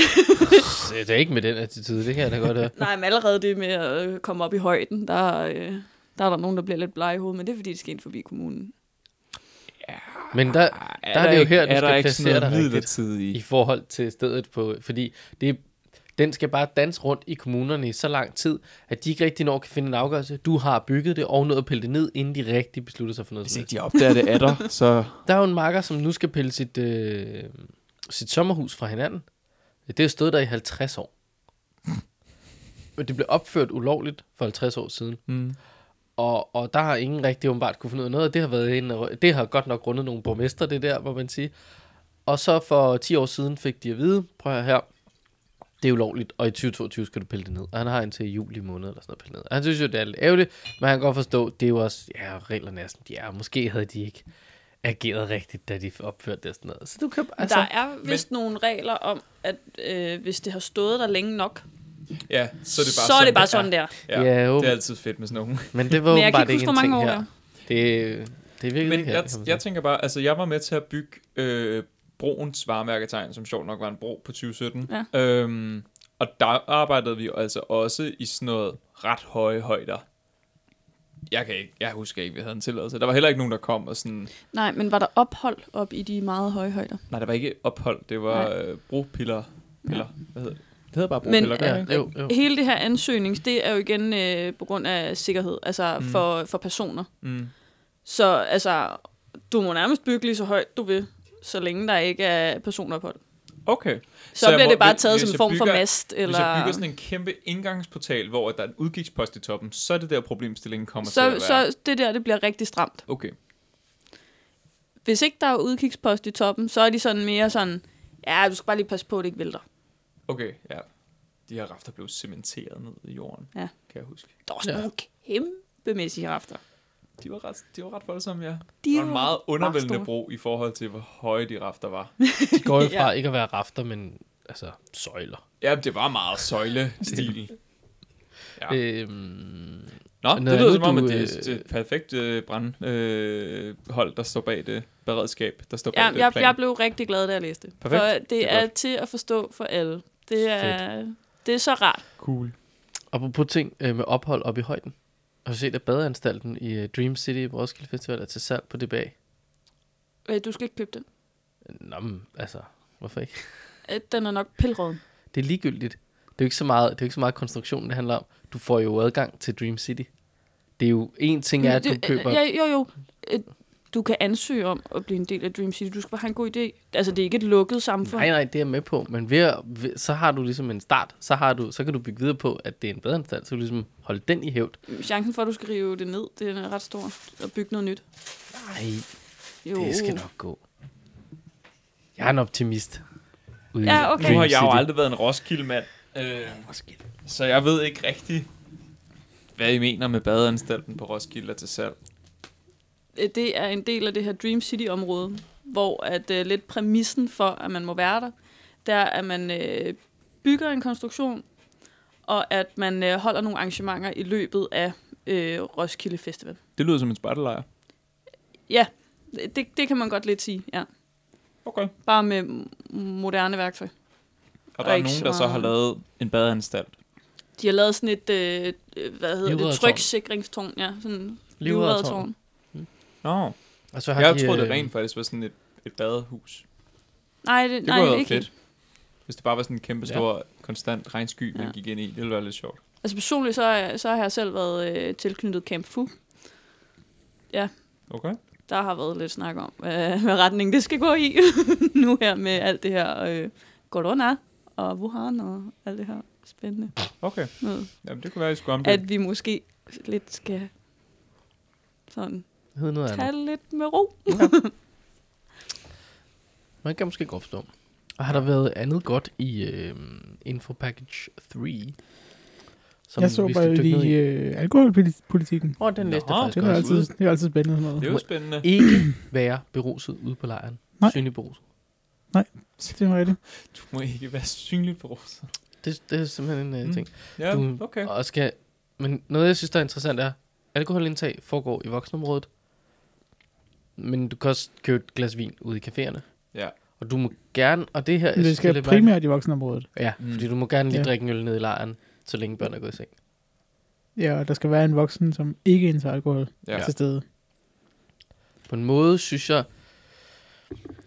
A: Det er ikke med den attitude, det kan jeg da godt høre.
D: Nej, men allerede det med at øh, komme op i højden, der, øh, der er der nogen, der bliver lidt blege i hovedet, men det er fordi, det skal ind forbi kommunen.
A: Men der,
B: er
A: der er det jo
B: ikke-
A: her, du
B: er
A: skal
B: der ikke
A: placere
B: sådan
A: dig
B: noget
A: rigtigt.
B: midlertidigt
A: i
B: i?
A: forhold til stedet på, fordi det, den skal bare danse rundt i kommunerne i så lang tid, at de ikke rigtig når kan finde en afgørelse. Du har bygget det og noget at pille det ned, inden de rigtig beslutter sig for noget.
B: Hvis
A: Som
B: ikke
A: helst.
B: de opdager det er der, så...
A: Der er jo en marker, som nu skal pille sit, øh, sit sommerhus fra hinanden. Det har stået der i 50 år. Men det blev opført ulovligt for 50 år siden.
B: Mm.
A: Og, og der har ingen rigtig åbenbart kunne finde ud af noget, og det har, været en, af- det har godt nok rundet nogle borgmester, det der, må man sige. Og så for 10 år siden fik de at vide, prøv at høre her, det er ulovligt, og i 2022 skal du pille det ned. Og han har indtil juli måned eller sådan noget pillet ned. Og han synes jo, det er lidt ærgerligt, men han kan godt forstå, det er jo også, ja, reglerne er, som de er. Måske havde de ikke ageret rigtigt, da de opførte det og sådan noget. Så du kan
D: Altså,
A: altså,
D: der er vist men... nogle regler om, at øh, hvis det har stået der længe nok,
B: Ja, så
D: så
B: er det bare
D: så er
B: sådan,
D: det bare sådan der.
B: Ja,
A: Ja, jo.
B: det er altid fedt med sådan nogle.
A: men det var
D: Men jeg kan
A: åbenbart
D: ikke
A: ikke
D: huske,
A: en
D: hvor
A: ting
D: mange år
A: her. Det, det er virkelig
B: Men
A: ikke her, kan
B: jeg,
A: man sige.
B: jeg tænker bare, altså jeg var med til at bygge øh, broens varemærketegn, som sjovt nok var en bro på 2017. Ja. Øhm, og der arbejdede vi jo altså også i sådan noget ret høje højder. Jeg, kan ikke, jeg husker ikke, vi havde en tilladelse. Der var heller ikke nogen, der kom og sådan...
D: Nej, men var der ophold op i de meget høje højder?
B: Nej, der var ikke ophold, det var øh, bropiller. Piller. Hvad hedder det? Det hedder bare
D: Men,
B: bropiller, gør det
A: ja,
B: ikke?
A: jo, jo.
D: Hele det her ansøgnings, det er jo igen øh, på grund af sikkerhed, altså mm. for, for personer.
B: Mm.
D: Så altså, du må nærmest bygge lige så højt, du vil, så længe der ikke er personophold.
B: Okay.
D: Så,
B: Så
D: så
B: jeg
D: bliver
B: må-
D: det bare
B: hvis-
D: taget
B: hvis
D: som en
B: jeg
D: form for
B: bygger-
D: mast.
B: Eller...
D: Eller...
B: Hvis jeg bygger sådan en kæmpe indgangsportal, hvor der er en udkigspost i toppen, så er det der problemstillingen kommer til at
D: så,
B: være.
D: så det der, det bliver rigtig stramt.
B: Okay.
D: Hvis ikke der er udkigspost i toppen, så er de sådan mere sådan, ja, du skal bare lige passe på, at det ikke vælter.
B: Okay, ja. De her rafter blev cementeret ned i jorden,
D: Ja.
B: kan jeg huske.
D: Der er også
A: Ja.
D: ja. nogle kæmpemæssige rafter.
B: De var ret, de var ret voldsomme, ja.
D: De
B: Det
D: er
B: var en
D: jo
B: meget undervældende
D: store.
B: bro i forhold til, hvor høje de rafter var.
A: De går jo
D: Ja.
A: fra ikke at være rafter, men altså søjler.
B: ja, det var meget søjlestil. Ja.
A: Øhm,
B: Nå,
A: Noget
B: det lyder
A: andet,
B: som om, at
A: du,
B: det
A: øh,
B: er et perfekt øh, brandhold, øh, hold, der står bag det beredskab, der står bag
D: Ja,
B: det
D: jeg,
B: plan.
D: jeg blev rigtig glad, da jeg læste. det.
B: Perfekt.
D: For
B: Det
D: det
B: er
D: er
B: godt.
D: til at forstå for alle. Det er, det er så rart.
B: Cool.
A: apropos ting øh, med ophold op i højden. Har du set, at badeanstalten i øh, Dream City på Roskilde Festival er til salg på DBA?
D: Øh, Du skal ikke købe den.
A: Nå, men, altså, hvorfor ikke?
D: Øh, Den er nok pilråden.
A: Det er ligegyldigt. Det er jo ikke så meget, det er jo ikke så meget konstruktionen, det handler om. Du får jo adgang til Dream City. Det er jo en ting, er, at du køber...
D: Ja, jo, jo. Øh, Du kan ansøge om at blive en del af Dream City. Du skal bare have en god idé. Altså, det er ikke et lukket samfund.
A: Nej, nej, det er jeg med på, men ved, at- ved, så har du ligesom en start, så, har du, så kan du bygge videre på, at det er en badeanstalt, så kan du ligesom holde den i hævd.
D: Chancen for, at du skal rive det ned, det er ret stor. Og bygge noget nyt.
A: Nej,
D: Jo.
A: det skal nok gå. Jeg er en optimist. Ude i
D: Ja, okay.
B: Nu
A: Dream
B: har jeg jo
A: City.
B: aldrig været en Roskilde-mand, øh, så jeg ved ikke rigtig, hvad I mener med badeanstalten på Roskilde er til salg.
D: Øh, Det er en del af det her Dream City-område, hvor at øh, lidt præmissen for, at man må være der, det er, at man øh, bygger en konstruktion, og at man øh, holder nogle arrangementer i løbet af øh, Roskilde Festival.
B: Det lyder som en spartelejr.
D: Ja, det, det kan man godt lidt sige, ja.
B: Okay.
D: Bare med m- moderne værktøj.
B: Og
D: Og
B: der er
D: ikke
B: nogen,
D: så
B: der så har
D: meget.
B: lavet en badeanstalt.
D: De har lavet sådan et, øh, øh, hvad hedder det,
A: Livreddertårn.
D: tryksikringstårn, ja. Sådan
A: Livreddertårn.
D: livreddertårn.
B: Nå,
A: Og så har
B: jeg
A: de,
B: troede, det
A: øh,
B: rent faktisk var sådan et, et badehus.
D: Nej, det,
B: Det
D: nej,
B: kunne have været
D: ikke.
B: fedt. Hvis det bare var sådan en kæmpe
A: Ja.
B: stor, ja. konstant regnsky, man
D: Ja.
B: gik ind i. Det ville være lidt sjovt.
D: Altså personligt, så, er- så har jeg selv været øh, tilknyttet Camp Fu.
B: Okay.
D: der har været lidt snak om, øh, hvad retning det skal gå i nu her med alt det her øh, corona og Wuhan og alt det her spændende
B: Okay,
D: noget.
B: Jamen, det kunne være, at I skulle omdøbe.
D: At vi måske lidt skal sådan
A: Hed noget andet.
D: tage lidt med ro.
A: Man kan måske godt forstå. Og har der været andet godt i øh, Info Package 3? Som
C: Jeg så
A: vi skal
C: bare
A: dykke ned i?
C: lige øh, alkoholpolitikken.
A: Åh, den læste
B: Nå,
A: jeg faktisk
C: Det er,
A: også.
C: jo altid, det er jo altid spændende sådan noget.
B: Det er jo spændende.
A: Ikke være beruset ude på lejren.
C: Nej.
A: Synlig beruset.
C: Det er rigtigt.
B: Du må ikke være synlig på roser.
A: Det, det er simpelthen en
B: Mm.
A: uh, ting.
B: Ja,
A: Du-
B: okay.
A: Og skal, men noget, jeg synes, der er interessant, er, alkoholindtag foregår i voksenområdet. Men du kan også købe et glas vin ude i caféerne.
B: Ja.
A: Og du må gerne, og det her... jeg
C: Men det
A: synes, er
C: skal
A: lidt
C: primært i voksenområdet.
A: mærkeligt. Ja,
B: Mm.
A: fordi du må gerne lige
C: Ja.
A: drikke en øl ned i lejren, så længe børn er gået i seng.
C: Ja, og der skal være en voksen, som ikke indtager alkohol
B: Ja.
C: ja. til stede.
A: På en måde synes jeg,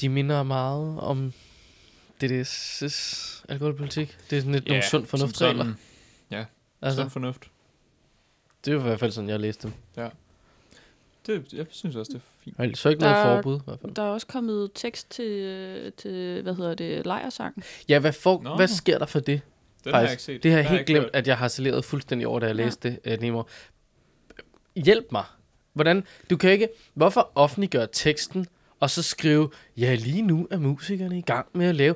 A: de minder meget om DDS' alkoholpolitik. Det er sådan lidt ja, nogle sund fornuftsregler.
B: som sådan.
A: Altså,
B: Sund fornuft.
A: det var i hvert fald sådan, jeg læste dem.
B: Det, jeg synes også, det er fint.
A: Og ellers så ikke noget
D: Der-
A: forbud. I hvert fald.
D: Der er også kommet tekst til, øh, til hvad hedder det, lejersangen.
A: Ja, hvad, for,
B: Nå.
A: hvad sker der for det?
B: Den har
A: Faktisk,
B: jeg ikke set.
A: Det har
B: Den
A: jeg helt
B: ikke
A: glemt,
B: hørt.
A: at jeg har saleret fuldstændig over, da jeg
D: Ja.
A: læste det, øh, Nemo. Hjælp mig. Hvordan? Du kan ikke... Hvorfor offentliggøre teksten, og så skrive, ja, lige nu er musikerne i gang med at lave...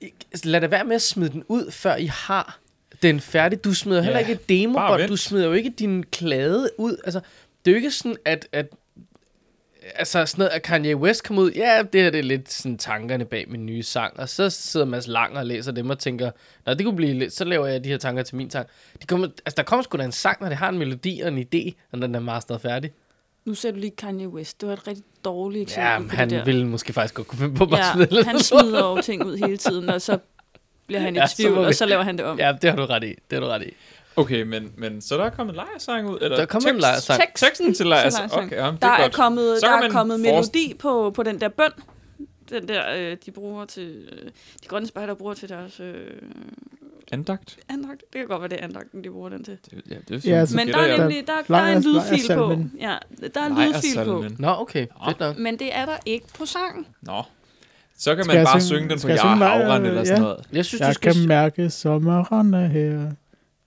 A: Ik- Lad da være med at smide den ud, før I har den færdig. Du smider heller
B: Ja,
A: ikke et demobånd,
B: bare
A: du
B: vent.
A: smider jo ikke din klade ud. Altså, det er jo ikke sådan, at, at altså sådan noget, at Kanye West kom ud, ja, det her det er lidt sådan tankerne bag min nye sang, og så sidder Mads Lang og læser dem og tænker, nå, det kunne blive lidt, så laver jeg de her tanker til min sang. De kommer, altså, der kommer sgu da en sang, når det har en melodi og en idé, når den er masteret færdig.
D: Nu ser du lige Kanye West. Det var et rigtig dårligt eksempel.
A: Ja,
D: på
A: men
D: det
A: han
D: der.
A: ville måske faktisk godt kunne finde på bare ja,
D: ja, han smider over ting ud hele tiden, og så bliver han i
A: Ja,
D: ja,
A: så
D: tvivl,
A: må vi-
D: og så laver han det om. Ja.
A: Ja, det har du ret i. Det har du ret i.
B: Okay, men, men så der er kommet lejersang ud? Eller
A: Der er kommet en lejersang.
D: Teksten
B: Teksten til
D: til
B: lejersang.
D: lejrsang.
B: Okay, jamen, det
D: Der
B: er
D: er
B: godt.
D: kommet,
B: Så
D: der
B: kan
D: er
B: man
D: kommet
B: forest-
D: melodi på, på den der bøn, den der, øh, de bruger til, øh, de grønne spejder bruger til deres øh,
B: Andagt?
D: andagt. Det kan godt være, det er andagten, de bruger den til.
B: Det, ja, det er
C: Ja, altså,
D: Men der
B: gætter jeg.
D: er nemlig, der, der er en
C: Lejers-
D: lydfil på.
C: lejersalmen.
D: Ja, der er en lydfil på.
B: Lejersalmen.
A: Nå, okay.
B: Nå.
A: Fedt nok.
D: Men det er der ikke på sangen.
B: Nå. Så kan
C: Skal
B: man
C: jeg
B: bare
C: synge-
B: synge den på
C: skal jeg
B: Jeg er
C: synge lejer-
B: havren eller sådan
C: ja.
B: noget.
A: Jeg synes, du
C: Jeg
A: skal...
C: kan mærke sommeren er her.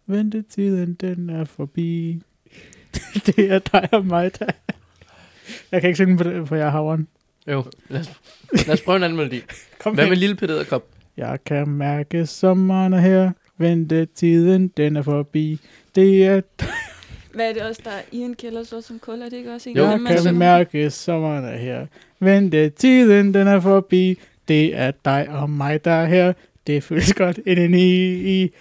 C: Ventetiden, den er forbi. det er dig og mig, der... Jeg kan ikke synge på det, for jeg er havren.
A: Jo, lad os, lad os prøve en anden melodi.
C: Kom
A: Hvad
C: hen.
A: med Lille Peter Kop?
C: Jeg kan mærke sommeren er her. Ventetiden, den er forbi. Det er
D: Hvad er det også, der er Ian Keller så som kul? Er det ikke også en
A: Jo,
D: af
C: Jeg
D: dem, man
C: kan
D: synger?
C: mærke sommeren er her. Vente tiden, den er forbi. Det er dig og mig, der er her. Det føles godt indeni i.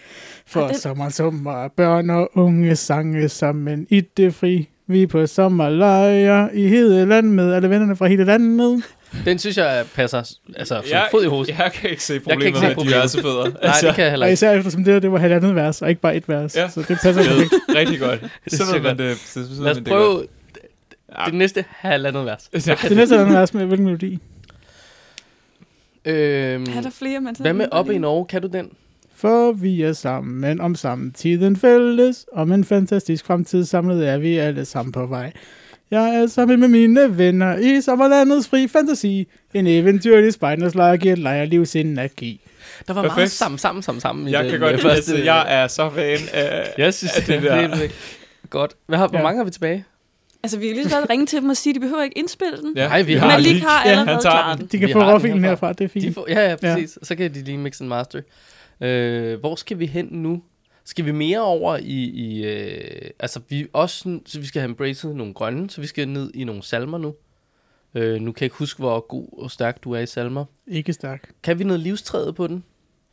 C: For
D: Ej, den-
C: sommer, sommer, børn og unge sange sammen i det fri. Vi er på sommerlejr i Hedeland med alle vennerne fra hele landet.
A: Den synes jeg passer altså, som
B: Jeg-
A: fod i hosen.
B: Jeg kan ikke se
A: kan ikke
B: problemet
A: se
B: med
A: problemet.
B: diverse fødder. Altså,
A: Nej, det kan jeg heller
C: Og
A: ikke.
C: især eftersom det her, det var halvandet vers, og ikke bare et vers.
B: Ja.
C: Så det passer
B: Fed.
C: perfekt.
B: Rigtig godt.
A: Det
B: Så
A: synes
B: ved
A: jeg
B: man
A: godt.
B: det. Så ved
A: Lad
B: man "Ah."
A: os
B: det
A: prøve
B: godt. Ja.
A: det næste halvandet vers.
B: Ja.
C: Det næste halvandet vers med hvilken melodi?
A: Øhm,
D: Er der flere, man sådan-
A: hvad med op i Norge? Kan du den?
C: For vi er sammen om samtiden fælles, om en fantastisk fremtid samlet er vi alle sammen på vej. Jeg er sammen med mine venner i sommerlandets fri fantasi. En eventyrlig spejderslejr giver et lejerliv sin energi.
A: Der var Perfekt. meget
B: Perfekt.
A: sammen, sammen, sammen, sammen. i
B: Jeg
A: den,
B: kan
A: øh,
B: godt lide,
A: første-
B: at jeg er så fan af...
A: Jeg synes,
B: af
A: det, det
B: der.
A: er helt vildt. Godt. Hvad har, hvor
C: Ja.
A: mange har vi tilbage?
D: Altså, vi kan lige så godt ringe til dem og sige, at de behøver ikke indspille den.
B: Ja,
A: Nej, vi
D: Ja,
A: har
D: Men
A: Malik
D: Malik har
C: Ja, han
D: allerede
B: tager
D: klaret
B: den.
D: den.
C: De kan
A: Vi
C: få
A: har den
C: råfilen
A: herfra.
C: herfra, det er
A: De
C: fint.
A: får, ja, ja,
C: Ja.
A: præcis. Og så kan de lige mixe en master. Øh, hvor skal vi hen nu? Skal vi mere over i... i øh, altså, vi er også sådan, så vi skal have embraced nogle grønne, så vi skal ned i nogle salmer nu. Øh, nu kan jeg ikke huske, hvor god og stærk du er i salmer.
C: Ikke stærk.
A: Kan vi noget livstræet på den?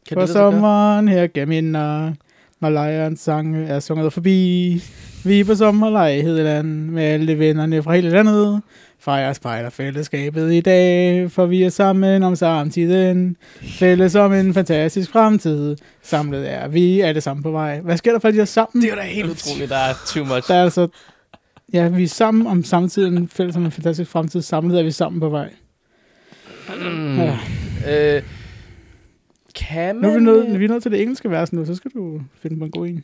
A: Kan
C: For
A: det lade sig gøre?
C: sommeren her gennem inderen, når lejrens sange er sunget forbi. Vi er på sommerlejr i Hedeland med alle vennerne fra hele landet. Fejrer spejderfællesskabet i dag, for vi er sammen om samtiden. Fælles om en fantastisk fremtid. Samlet er vi alle sammen på vej. Hvad sker der for, at de er sammen?
A: Det er da helt utroligt, der er too much.
C: Der er altså... Ja, vi er sammen om samtiden. Fælles om en fantastisk fremtid. Samlet er vi sammen på vej.
A: Mm.
C: Ja.
A: Øh, kan man...
C: Nu er vi
A: øh,
C: nået, vi er nået til det engelske vers nu, så skal du finde på en god en.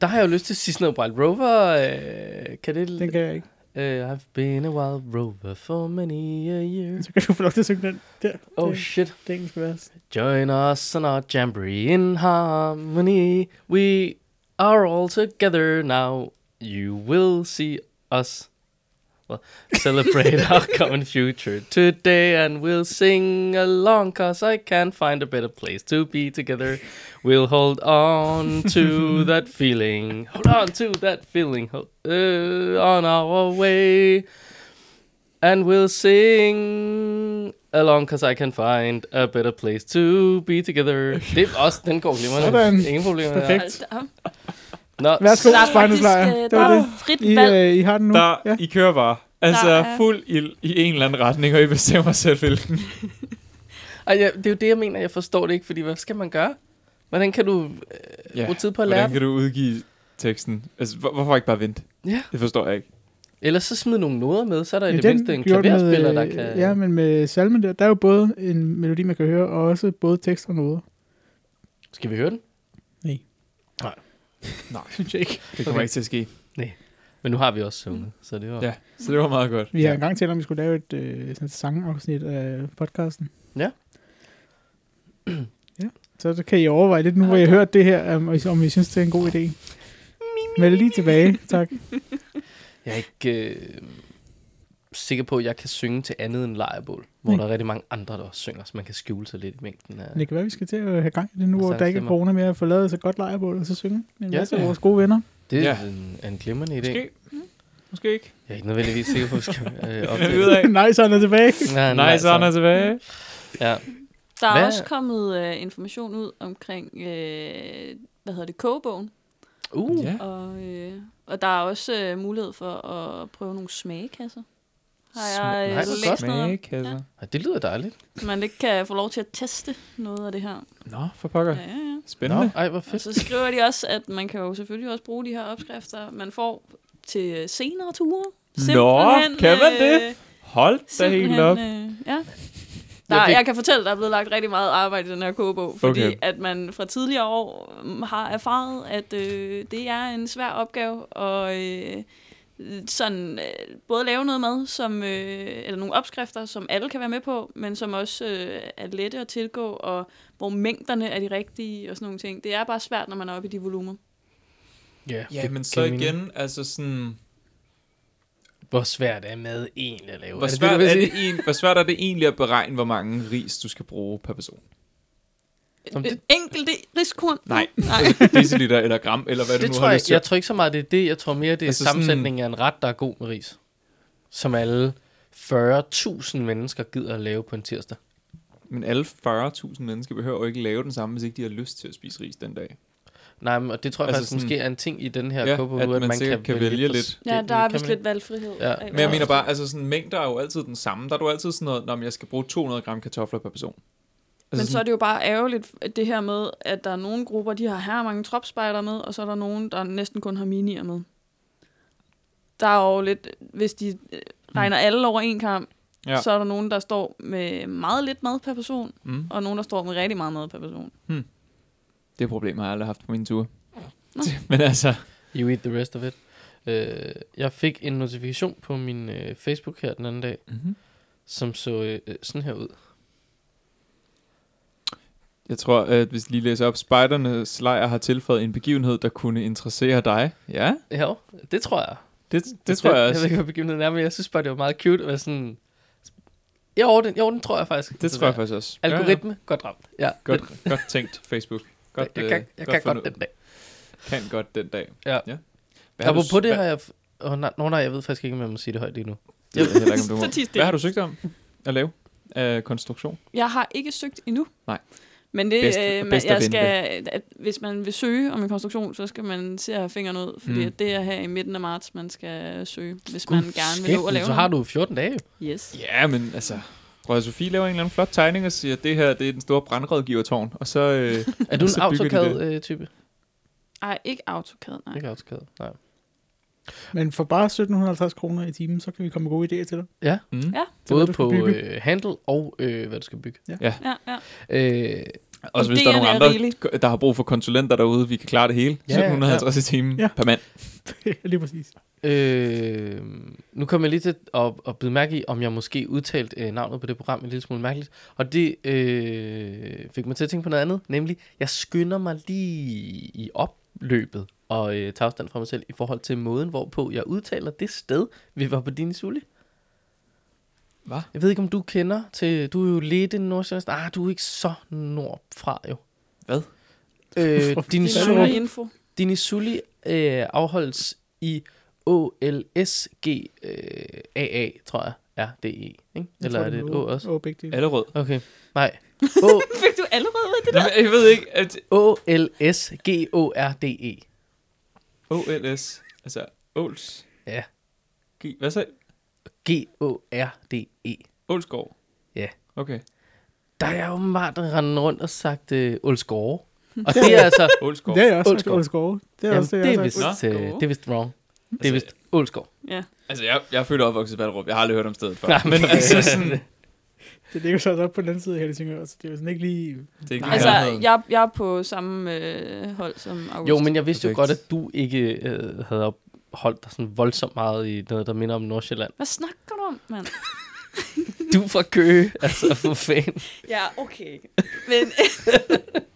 A: Der har jeg jo lyst til at sige sådan noget Wild Rover. Øh, kan det...
C: Den kan jeg ikke.
A: Uh, I've been a wild rover for many a year.
C: Så kan du få lov til at synge den der.
A: Oh
C: det,
A: shit.
C: det engelske vers.
A: Join us on our jamboree in harmony. We are all together now. You will see us. Well, celebrate our common future today and we'll sing along cause I can't find a better place to be together. We'll hold on to that feeling. Hold on to that feeling. Ho- uh, on our way. And we'll sing along, cause I can find a better place to be together. Det er også, den går glimrende.
C: Sådan.
A: Ingen problemer. der.
C: Perfekt.
D: Altså, der,
A: Nå,
C: Værsgo,
D: Der er
C: spejlnedslejr.
D: faktisk, øh,
C: Det var
D: der
C: det.
D: er frit
C: I,
D: valg.
C: øh, I har den nu.
B: Der,
C: Ja.
B: ja. I kører bare. Altså,
D: Der
B: er...
D: er-
B: fuld ild i en eller anden retning, og I bestemmer selv, hvilken.
A: Ej, ja, det er jo det, jeg mener, jeg forstår det ikke, fordi hvad skal man gøre? Hvordan kan du øh, bruge tid på at lære
B: Hvordan
A: det?
B: kan du udgive teksten? Altså, hvor, hvorfor ikke bare vente?
A: Ja.
B: Det forstår jeg ikke.
A: Ellers så smid nogle noder med, så er der i
C: Ja,
A: det mindste en
C: gjorde den med,
A: klaverspiller, der
C: øh,
A: kan...
C: Ja, men med salmen der, der er jo både en melodi, man kan høre, og også både tekst og noder.
A: Skal vi høre den?
C: Nej.
A: Nej.
B: Nej.
C: synes jeg ikke.
B: Det
A: Okay.
B: kommer okay. ikke til at ske.
A: Men nu har vi også sunget,
C: Mm.
A: så det var...
B: Ja. Så det var meget godt.
C: Vi har engang talt om, at vi skulle lave et øh, sådan et sangafsnit af podcasten.
A: Ja.
C: ja. Så, så kan I overveje lidt nu, hvor jeg har hørt det her, om, om I synes, det er en god idé. Meld lige tilbage, tak.
A: Jeg er ikke øh, sikker på, at jeg kan synge til andet end lejrebål, hvor
C: Nej.
A: der er rigtig mange andre, der også synger, så man kan skjule sig lidt i mængden af...
C: Men det kan være, vi skal til at have gang i det nu,
A: Og
C: hvor der ikke er
A: sangstemmer.
C: corona mere at få lavet så godt lejrebål og så synge. Men
A: Altså, Ja,
C: ja, så
A: ja.
C: vores gode venner.
A: Det er
B: Ja.
A: en, en glimrende idé.
B: Måske. Mm. Måske ikke.
A: Jeg er ikke nødvendigvis sikker på, at vi skal øh,
B: Det
A: op
B: finder vi
A: til
B: ud af.
C: Nej, så er han tilbage.
A: Nej, altså-
B: Nej, så er Anna tilbage.
A: Ja.
D: der er
A: Hvad-
D: også kommet øh, information ud omkring, øh, hvad hedder det, kogebogen.
A: Uh,
B: Ja.
D: Og, øh, og der er også øh, mulighed for at prøve nogle smagekasser. Har jeg
A: Smag-
D: øh,
A: Nej, hvor godt.
D: læst noget om,
B: Smagkasser.
A: Ej, det lyder dejligt.
D: så man ikke kan få lov til at teste noget af det her.
B: Nå, for pokker.
D: Ja, ja, ja.
B: Spændende.
A: Nå, ej, hvor
D: Og
A: fedt.
D: så skriver de også, at man kan jo selvfølgelig også bruge de her opskrifter, man får til øh, senere ture.
B: kan man det?
D: øh,
B: Hold da helt
D: Simpelthen,
B: op.
D: øh, ja.
A: Jeg
D: Der,
A: fik-
D: jeg kan fortælle, at der er blevet lagt rigtig meget arbejde i den her kogebog, fordi
B: Okay.
D: okay. at man fra tidligere år mm, har erfaret, at øh, det er en svær opgave og øh, sådan øh, både lave noget mad, som, øh, eller nogle opskrifter, som alle kan være med på, men som også øh, er lette at tilgå, og hvor mængderne er de rigtige og sådan nogle ting. Det er bare svært, når man er oppe i de volumener.
A: Ja,
B: Ja,
A: det
B: men
A: giver
B: så
A: mening.
B: igen, altså sådan...
A: Hvor svært er mad egentlig at lave?
B: Hvor
A: Er det
B: svært,
A: det,
B: er
A: du vil
B: det en, hvor svært er det egentlig at beregne, hvor mange ris du skal bruge per person?
A: Som det-
D: Det... Enkelte riskorn?
B: Nej.
D: Nej.
B: Deciliter eller gram, eller hvad
A: sige?
B: det
A: det
B: du nu
A: tror
B: har
A: jeg,
B: lyst til.
A: jeg tror ikke så meget, det er det. Jeg tror mere, det er
B: Altså
A: altså
B: sådan-
A: sammensætningen af en ret, der er god med ris. Som alle 40.000 mennesker gider at lave på en tirsdag.
B: Men alle 40.000 mennesker behøver jo ikke lave den samme, hvis ikke de har lyst til at spise ris den dag.
A: Nej, men, og det tror jeg
B: Altså
A: altså faktisk
B: sådan-
A: måske er en ting i den her
B: Ja,
A: ja, kobo,
B: at
A: at, at
B: man
A: man
B: sikkert
A: kan,
B: kan vælge lidt.
A: forskelligt.
D: Ja, der er
A: Kan
D: vist
A: man
D: lidt valgfrihed.
A: Ja.
D: af,
B: Men jeg mener
D: hvad-
B: bare, altså sådan, mængder er jo altid den samme. Der er du altid sådan noget, når jeg skal bruge 200 gram kartofler per person. Altså
D: Men så er
B: sådan,
D: det jo bare ærgerligt, at det her med, at der er nogle grupper, de har her mange tropspejder med, og så er der nogen, der næsten kun har minier med. Der er jo lidt, hvis de øh, regner alle over en kamp,
B: Mm. Ja.
D: ja. så er der nogen, der står med meget lidt mad per person,
B: mm,
D: og nogen, der står med rigtig meget mad per person.
B: det problem har jeg aldrig haft på min tur.
D: Nå.
B: Men altså,
A: You eat the rest of it. Øh, jeg fik en notifikation på min øh, Facebook her den anden dag,
B: mm-hmm.
A: som så øh, øh, sådan her ud.
B: jeg tror, at hvis jeg lige læser op, spejdernes lejr har tilføjet en begivenhed, der kunne interessere dig. Ja,
A: Ja, det tror jeg.
B: det, det, det tror jeg
A: Jeg ved
B: også.
A: ikke, hvad begivenheden er, men jeg synes bare, det var meget cute at være sådan... Jo, den, jo, den tror jeg faktisk.
B: Det tror jeg faktisk også. Ja, ja.
A: Algoritme, godt ramt. Ja,
B: Godt,
A: den,
B: godt tænkt, Facebook. Godt,
A: jeg,
B: øh,
A: kan, jeg kan
B: fundet
A: godt
B: ud.
A: den dag.
B: Kan godt den dag.
A: Ja.
B: ja. Hvad har du-
A: Apropos på det
B: hvad-
A: har jeg... f- Åh, oh, nej, no, nej, jeg ved faktisk ikke, om jeg må sige det højt lige nu.
B: Det ved jeg heller ikke, om du
D: Så tis
B: må.
D: det.
B: Hvad har du søgt om at lave af konstruktion?
D: Jeg har ikke søgt endnu.
B: Nej.
D: Men det,
B: Bedst-
D: bedst, øh, man,
B: bedst at
D: jeg
B: vente.
D: skal, at hvis man vil søge om en konstruktion, så skal man se at have fingrene ud, fordi
B: Mm.
D: mm. det er her i midten af marts, man skal søge, hvis man gerne vil nå
A: Skæbnen,
D: at lave
A: Så har
D: noget.
A: du 14 dage.
D: Yes.
B: Ja, men altså... Røde Sofie laver en eller anden flot tegning og siger, at det her det er den store brandrådgivertårn. Og så... Øh,
A: Er du en
B: Så bygger de det.
A: AutoCAD-type?
D: Ej, ikke AutoCAD, nej.
A: Ikke AutoCAD, nej.
C: Men for bare 1750 kroner i timen, så kan vi komme med gode idéer til dig.
B: mm.
D: Ja.
C: Til, hvad
A: Både
C: du skal
A: på
C: bygge.
A: øh, handel og øh, hvad du skal bygge.
D: Ja, ja.
A: Øh,
B: Også hvis
D: Idéerne
B: der er nogle
D: er
B: andre,
D: rigeligt.
B: der har brug for konsulenter derude, vi kan klare det hele.
A: Ja,
B: 1750 i timen
C: ja.
B: per mand.
C: Lige præcis.
A: Øh, nu kommer jeg lige til at, at bide mærke i, om jeg måske udtalte øh, navnet på det program en lille smule mærkeligt. Og det øh, fik mig til at tænke på noget andet, nemlig, jeg skynder mig lige i opløbet og øh, tager afstand fra mig selv i forhold til måden, hvorpå jeg udtaler det sted, vi var på din Sulli.
B: Hvad?
A: Jeg ved ikke, om du kender til... Du er jo lidt en nordsjællandsk... Ah, du er ikke så nordfra, jo.
B: Hvad?
A: Øh, din
D: Det er noget
A: Sulli
D: info.
A: Dinisuli øh, afholdes i OLSGAA, øh, tror jeg. Ja, det er E, ikke?
C: Jeg
A: Eller
C: tror,
A: er det et
C: en
A: O også?
C: Å, begge dele.
B: Allerød.
A: Okay, nej. O
E: Fik du allerede ud af det?
B: Nå, men jeg ved ikke, at
A: O-L-S-G-O-R-D-E.
B: OLS, altså Åls...
A: Ja.
B: G, hvad sagde
A: G-O-R-D-E.
B: Ålsgård?
A: Ja.
B: Okay.
A: E. Der er jeg åbenbart rendt rundt og sagt øh, Olsgårde. Og det er altså...
B: Ålsgård.
C: Det har jeg også sagt,
A: Ålsgård.
C: Ålsgård. Det er
A: Jamen,
C: også det, jeg
A: det, er
C: har sagt.
A: vist, øh,
B: Olsgårde.
A: det er vist wrong. Det er
B: Altså,
A: vist Olsgård.
D: Ja.
B: Altså, jeg, jeg er født og opvokset i Ballerup. Jeg har aldrig hørt om stedet før.
A: Nej, men okay.
B: altså, sådan,
C: Det ligger så også op på den anden side af Helsingør, så det er jo sådan ikke lige...
B: det er ikke
D: Altså,
B: altså,
D: jeg, jeg er på samme øh, hold som August.
A: Jo, men jeg vidste jo
B: Perfekt.
A: godt, at du ikke øh, havde holdt dig sådan voldsomt meget i noget, der minder om Nordsjælland.
D: Hvad snakker du om, mand?
A: Du er fra Køge, altså for fanden.
D: Ja, okay. Men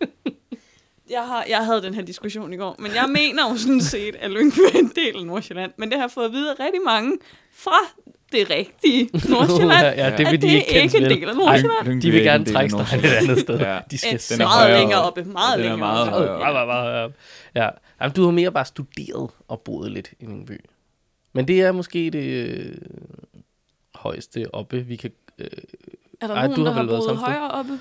D: jeg, har, jeg havde den her diskussion i går, men jeg mener jo sådan set, at Lyngby er en del af Nordsjælland. Men det har jeg fået at vide af rigtig mange fra det rigtige Nordsjælland.
A: ja, ja, det
D: at
A: vil de
D: det
A: ikke
D: er
A: kendes
D: ikke en
A: ved.
D: del af Nordsjælland.
A: De vil gerne trække sig et andet sted.
B: Ja.
A: De
D: Øh,
A: skal
B: den er
D: meget
B: højere
D: længere
B: oppe.
D: oppe. Meget
B: Den er
D: længere
B: meget
D: oppe.
A: Ja,
B: højere
A: ja, ja, ja. ja. Jamen, du har mere bare studeret og boet lidt i min by. Men det er måske det øh, højeste oppe, vi kan... Øh,
D: Er der
A: Ej,
D: nogen,
A: du har
D: der har
A: vel været
D: boet
A: samme sted.
D: højere oppe?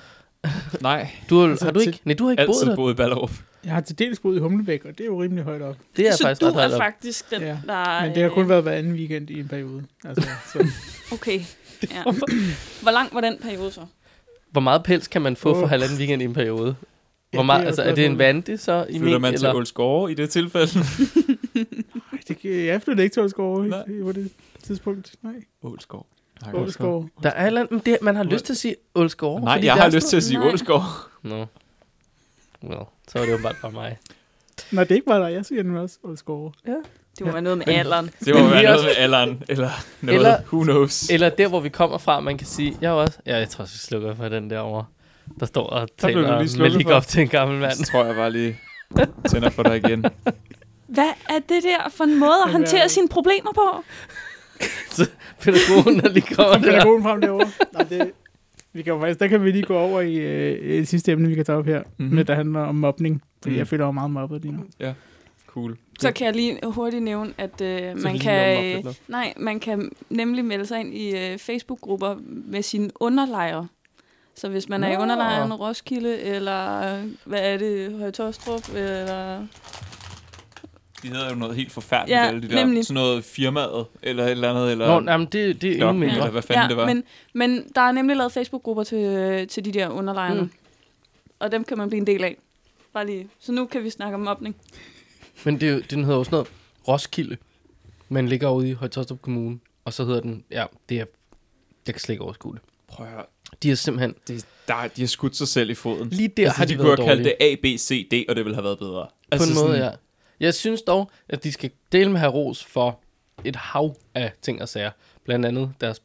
B: Nej,
A: du har,
C: Altså,
A: har du ikke...
C: til-
A: Nej, du har ikke boet
B: altid
A: der.
B: boet i Ballerup.
C: Jeg har til dels boet i Humlebæk, og det er jo rimelig højt op.
A: Det er
D: så
A: faktisk
D: du
A: ret højt
D: er
A: op.
D: faktisk den,
C: Ja,
D: der...
C: Men det har
D: øh,
C: kun været hver anden weekend i en periode. Altså, så
D: Okay. Ja. Hvor lang var den periode så?
A: Hvor meget pels kan man få for
C: Åh.
A: halvanden weekend i en periode?
C: Ja,
A: Hvor meget,
C: det er
A: altså,
C: også
A: er det en
C: spørgsmålet.
A: vante så i
B: Flytter
A: min,
B: man til
A: eller?
B: Ålsgård i det tilfælde?
C: Ej, det, kan- jeg flyttede ikke til Ålsgård
B: Nej.
C: i- på det tidspunkt. Nej,
B: Ålsgård. Nej,
C: Ålsgård.
A: Der er et eller andet, men det, man har lyst til at sige Ålsgård.
B: Nej,
A: fordi
B: jeg
A: der
B: har
A: er
B: lyst til at sige
D: Nej.
B: Ålsgård.
A: No. Well, så var det jo bare, bare mig.
C: Nej, det er ikke bare dig. Jeg siger nu også Ålsgård.
D: Det må være noget med
B: Men-
D: alderen.
B: Det må
A: Men
B: være
A: vi er
B: noget
A: også-
B: med alderen, eller noget,
A: Eller-
B: who knows.
A: Eller der, hvor vi kommer fra, man kan sige, jeg er jo også, ja, jeg tror, jeg slukker for den derovre. Der står og
B: blev du
A: taler
B: lige
A: med
B: slukket
A: lige
B: for.
A: op til en gammel mand.
B: Så tror jeg bare lige tænder for dig igen.
E: Hvad er det der for en måde at
C: Det er-
E: håndtere sine problemer på?
A: Pædagogen, der lige kommer
C: Kom
A: der.
C: pædagogen frem derovre. Nej, det, vi kan jo faktisk, der kan vi lige gå over i øh, et sidste emne, vi kan tage op her,
B: Mhm.
C: mm-hmm. med, der handler om mobning. Fordi
B: Mhm.
C: mm. jeg føler mig meget mobbet lige nu.
B: Cool.
D: Så kan jeg lige hurtigt nævne, at øh,
B: Så vi
D: man,
B: lige
D: kan,
B: når den op lidt
D: øh, nej, man kan nemlig melde sig ind i øh, Facebook-grupper med sine underlejre. Så hvis man er i
A: Nå.
D: underlejren Roskilde, eller øh, hvad er det, Højtostrup, eller...
B: De hedder jo noget helt forfærdeligt,
D: Ja,
B: alle de der.
D: nemlig.
B: Sådan noget firmaet, eller et eller andet, eller...
A: Nå, nej, men det, det er endnu
B: Dokmen,
A: mindre.
B: eller hvad fanden det var.
D: Men, men der er nemlig lavet Facebook-grupper til, øh, til de der underlejre.
A: Mm.
D: Mm. Og dem kan man blive en del af. Bare lige. Så nu kan vi snakke om mobning.
A: Men det, er jo- den hedder jo sådan noget Roskilde. Man ligger ude i Højtostrup Kommune, og så hedder den, ja, det er, jeg kan slet ikke overskue det.
B: Prøv at høre.
A: De er simpelthen,
B: Det, der, de har skudt sig selv i foden.
A: lige der altså, har de,
B: de kunne
A: været
B: have kaldt
A: dårlige.
B: det A, B, C, D, og det ville have været bedre.
A: På
D: Altså,
B: Altså
A: en måde, ja. Jeg synes dog, at de skal dele med her ros for et hav af ting og sager. Blandt andet deres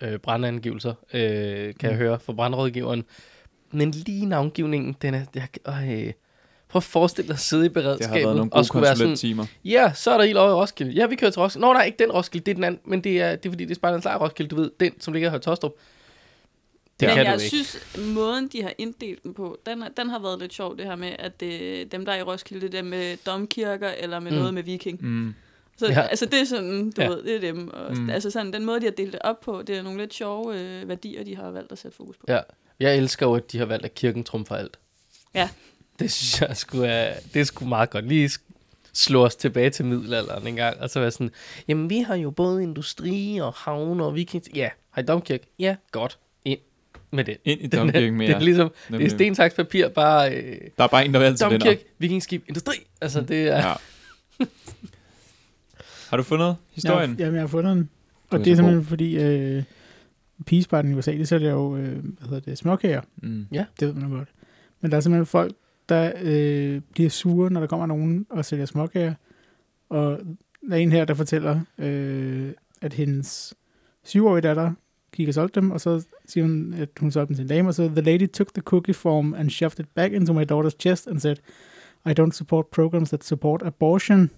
A: øh, brandangivelser, øh,
B: Mm.
A: kan jeg høre fra brandrådgiveren. Men lige navngivningen, den er... Jeg, øh, prøv at forestille dig at sidde i
B: Det har været
A: beredskabet
B: nogle
A: og
B: gode
A: skulle være sådan...
B: konsulenttimer.
A: Ja, så er der ild over i Roskilde. Ja, vi kører til Roskilde. Nå, nej, ikke den Roskilde, det er den anden. Men det er, det er fordi, det er Spejderens Lejr Roskilde, du ved. Den, som ligger her i Tostrup. Det
D: men
A: kan
D: jeg
A: du ikke.
D: synes, måden de har inddelt dem på, den, er- den har været lidt sjov, det her med, at det, dem, der er i Roskilde, det er med domkirker eller med
A: Mm.
D: mm. noget med viking.
B: Mm.
D: Så
A: Ja.
D: ja. altså, det er sådan,
A: Ja.
D: du ja. ved, det er dem. Og,
B: Mm.
D: mm. Altså sådan, den måde, de har delt det op på, det er nogle lidt sjove øh, værdier, de har valgt at sætte fokus på.
A: Ja. Jeg elsker jo, at de har valgt, at kirken trumfer alt.
D: Ja.
A: Det synes jeg sgu er, det er sgu meget godt. Lige sk- slå os tilbage til middelalderen en gang, og så være sådan, jamen vi har jo både industri og havne og vikings. Ja, har I domkirke? Ja, godt. Ind med det.
B: Ind i domkirken
A: det er
B: mere.
A: ligesom, det er
B: Nemlig.
A: sten, saks, papir, bare øh,
B: Der er bare en, der vil altid vinder.
A: domkirke, vikingskib, industri. Altså det er,
B: Ja. Har du fundet historien?
C: Jeg, jamen, jeg har fundet den. Og
B: er
C: det er
B: så
C: simpelthen fordi, øh, pigesparten i USA, det sælger jo, øh, hvad hedder det, småkager.
B: Mm.
C: Det ved man jo godt. Men der er simpelthen folk, der øh, bliver sure, når der kommer nogen og sælger småkager. Og Der er en her, der fortæller, øh, at hendes syvårige datter gik og solgte dem, og så siger hun, at hun solgte dem til en dame, og så, the lady took the cookie form and shoved it back into my daughter's chest and said, I don't support programs that support abortion.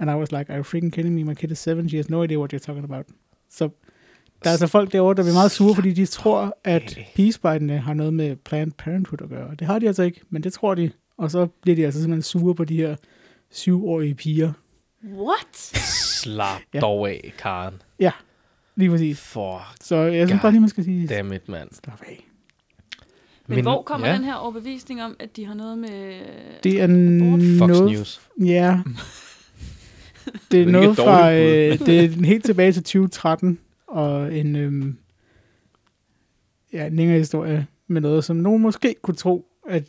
C: And I was like, are you freaking kidding me? My kid is seven, she has no idea what you're talking about. Så der er altså folk derovre, der bliver meget sure, fordi de tror, at pigespejdene har noget med Planned Parenthood at gøre. Og Det har de altså ikke, men det tror de. Og så bliver de altså simpelthen sure på de her syvårige piger.
D: What?
A: Slap
C: Ja.
A: dog af, Karen.
C: Lige præcis.
A: For
C: Så jeg synes
A: God
C: bare lige, man skal sige,
A: damn it, mand.
C: slap af.
D: Men, Men hvor kommer
B: ja.
D: ja. den her overbevisning om, at de har noget med...
C: Det er
A: Fox
C: noget...
A: News.
C: Ja. Det
B: Det er
C: er
B: ikke
C: noget
B: et
C: fra...
B: dårligt
C: Øh, det er helt tilbage til 2013, og en... Øh, ja, en længere historie med noget, som nogen måske kunne tro, at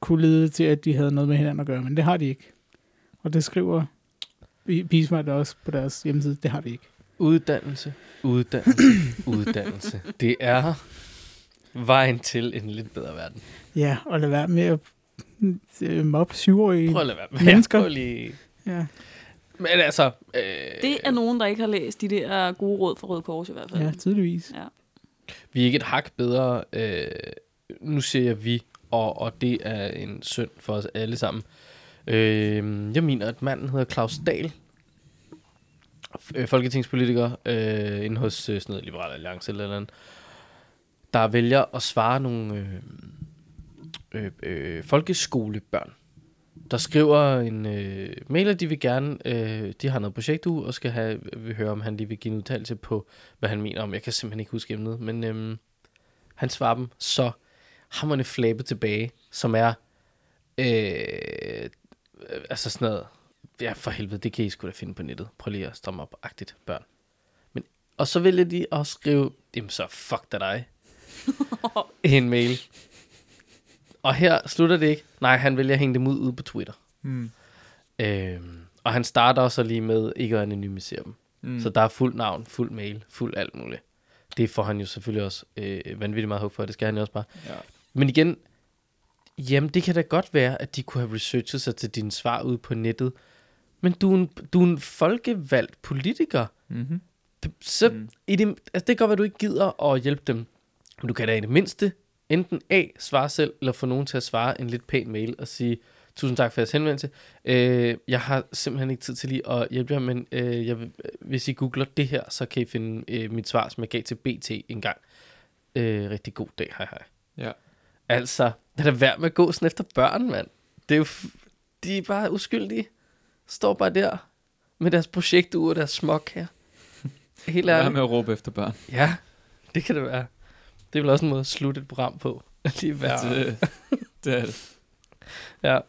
C: kunne lede til, at de havde noget med hinanden at gøre, men det har de ikke. Og det skriver Bismarck også på deres hjemmeside, det har de ikke.
A: Uddannelse, uddannelse, uddannelse. Det er vejen til en lidt bedre verden.
C: Ja, og lad være med at øh, mobbe syvårige.
A: Prøv at lade være med.
C: Mennesker.
A: Prøv lige.
C: Ja,
A: Men altså... Øh,
D: Det er nogen, der ikke har læst de der gode råd fra Røde Kors i hvert fald.
C: ja, tydeligvis.
D: ja.
A: Vi er ikke et hak bedre. Øh, nu siger jeg vi, og, og det er en synd for os alle sammen. Øh, jeg mener, at manden hedder Claus Dahl. F- øh, Folketingspolitiker øh, inde hos øh, sådan noget Liberal Alliance eller et eller andet. Der vælger at svare nogle øh, øh, øh, folkeskolebørn. Der skriver en øh, mailer, de vil gerne, øh, de har noget projekt ud, og skal have, øh, vil høre, om han lige vil give en udtalelse på hvad han mener om. Jeg kan simpelthen ikke huske emnet, men øhm, han svarer dem så hammerne flæbe tilbage, som er, øh, øh, altså sådan noget, ja for helvede, det kan I sgu da finde på nettet. Prøv lige at stramme op, agtigt børn. Men, og så vælger de at skrive, jamen så fuck da dig, en mail. Og her slutter det ikke. Nej, han vælger at hænge dem ud ude på Twitter.
B: Mm.
A: Øhm, og han starter også lige med ikke at anonymisere dem.
B: Mm.
A: Mm. Så der er fuld navn, fuld mail, fuld alt muligt. Det får han jo selvfølgelig også øh, vanvittigt meget hug for, det skal han jo også bare.
B: Ja.
A: Men igen, jamen det kan da godt være, at de kunne have researchet sig til dine svar ude på nettet. Men du er en, du er en folkevalgt politiker.
B: Mm-hmm.
A: Så
B: Mm.
A: mm. i det, altså det kan godt være, at du ikke gider at hjælpe dem. Men du kan da i det mindste enten A, svare selv, eller få nogen til at svare en lidt pæn mail og sige, tusind tak for jeres henvendelse. Øh, jeg har simpelthen ikke tid til lige at hjælpe jer, men øh, jeg, vil- hvis I googler det her, så kan I finde øh, mit svar, som jeg gav til BT en gang. Øh, rigtig god dag, hej hej.
B: Ja.
A: Altså, lad da være med at gå sådan efter børn, mand. Det er jo f- de er bare uskyldige. Står bare der med deres projektuge og deres smok her. Helt
B: Lad være
A: ærligt.
B: med at råbe efter børn.
A: Ja, det kan det være. Det er vel også en måde at slutte et program på. Lige
B: Ja. øh,
A: være.
B: Det, det er det.
A: øh, Ja.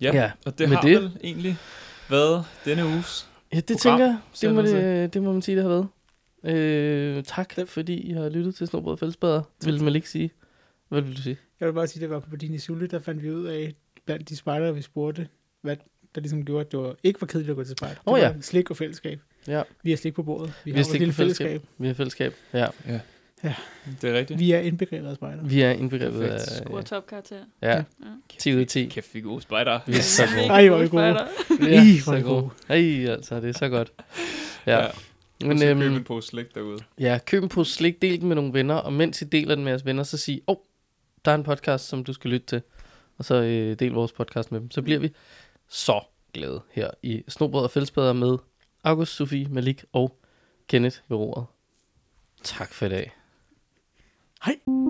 B: Ja, ja.
A: Ja,
B: og det
A: med
B: har det.
A: det-
B: vel egentlig været denne uges.
A: ja, det
B: Program,
A: tænker jeg.
B: siger
A: Det må,
B: man så.
A: det, det må man sige, det har været. Øh, tak, fordi I har lyttet til Snobrød Fællesbader. Vil man ikke sige? Hvad vil du sige?
C: Jeg vil bare sige, at det var på Badini Sule, der fandt vi ud af, blandt de spejder, vi spurgte, hvad der ligesom gjorde, at det var, ikke var kedeligt at gå til spejder.
A: Åh
C: det
A: ja.
C: var slik og fællesskab.
A: Ja.
C: Vi har slik på bordet. Vi,
A: Vi
C: vi
A: har
C: har
A: slik
C: et lille
A: på fællesskab.
C: fællesskab.
A: Vi er fællesskab. Ja,
B: Det er rigtigt.
C: Vi er indbegrebet af spejder.
A: vi er indbegrebet af...
B: Perfekt.
D: Score topkarakter.
A: Ja,
C: Ja.
D: Ja.
A: 10 ud af 10.
B: Kæft, vi er gode spejdere.
A: Vi er så gode.
C: Ej, hvor er I gode.
D: Spejder.
A: Ja,
C: Ih, hvor er
A: så
C: I
A: gode. Ej, altså, det er så godt. Ja. ja.
B: Men,
A: Men,
B: så køb en
A: øhm,
B: pose slik derude.
A: ja, køb en pose slik, del den med nogle venner, og mens I deler den med jeres venner, så sig, åh, oh, der er en podcast, som du skal lytte til, og så øh, del vores podcast med dem. Så bliver vi så glade her i Snobrød og Fællesbader med August, Sofie, Malik og Kenneth ved roret. Tak for i dag.
C: Hej.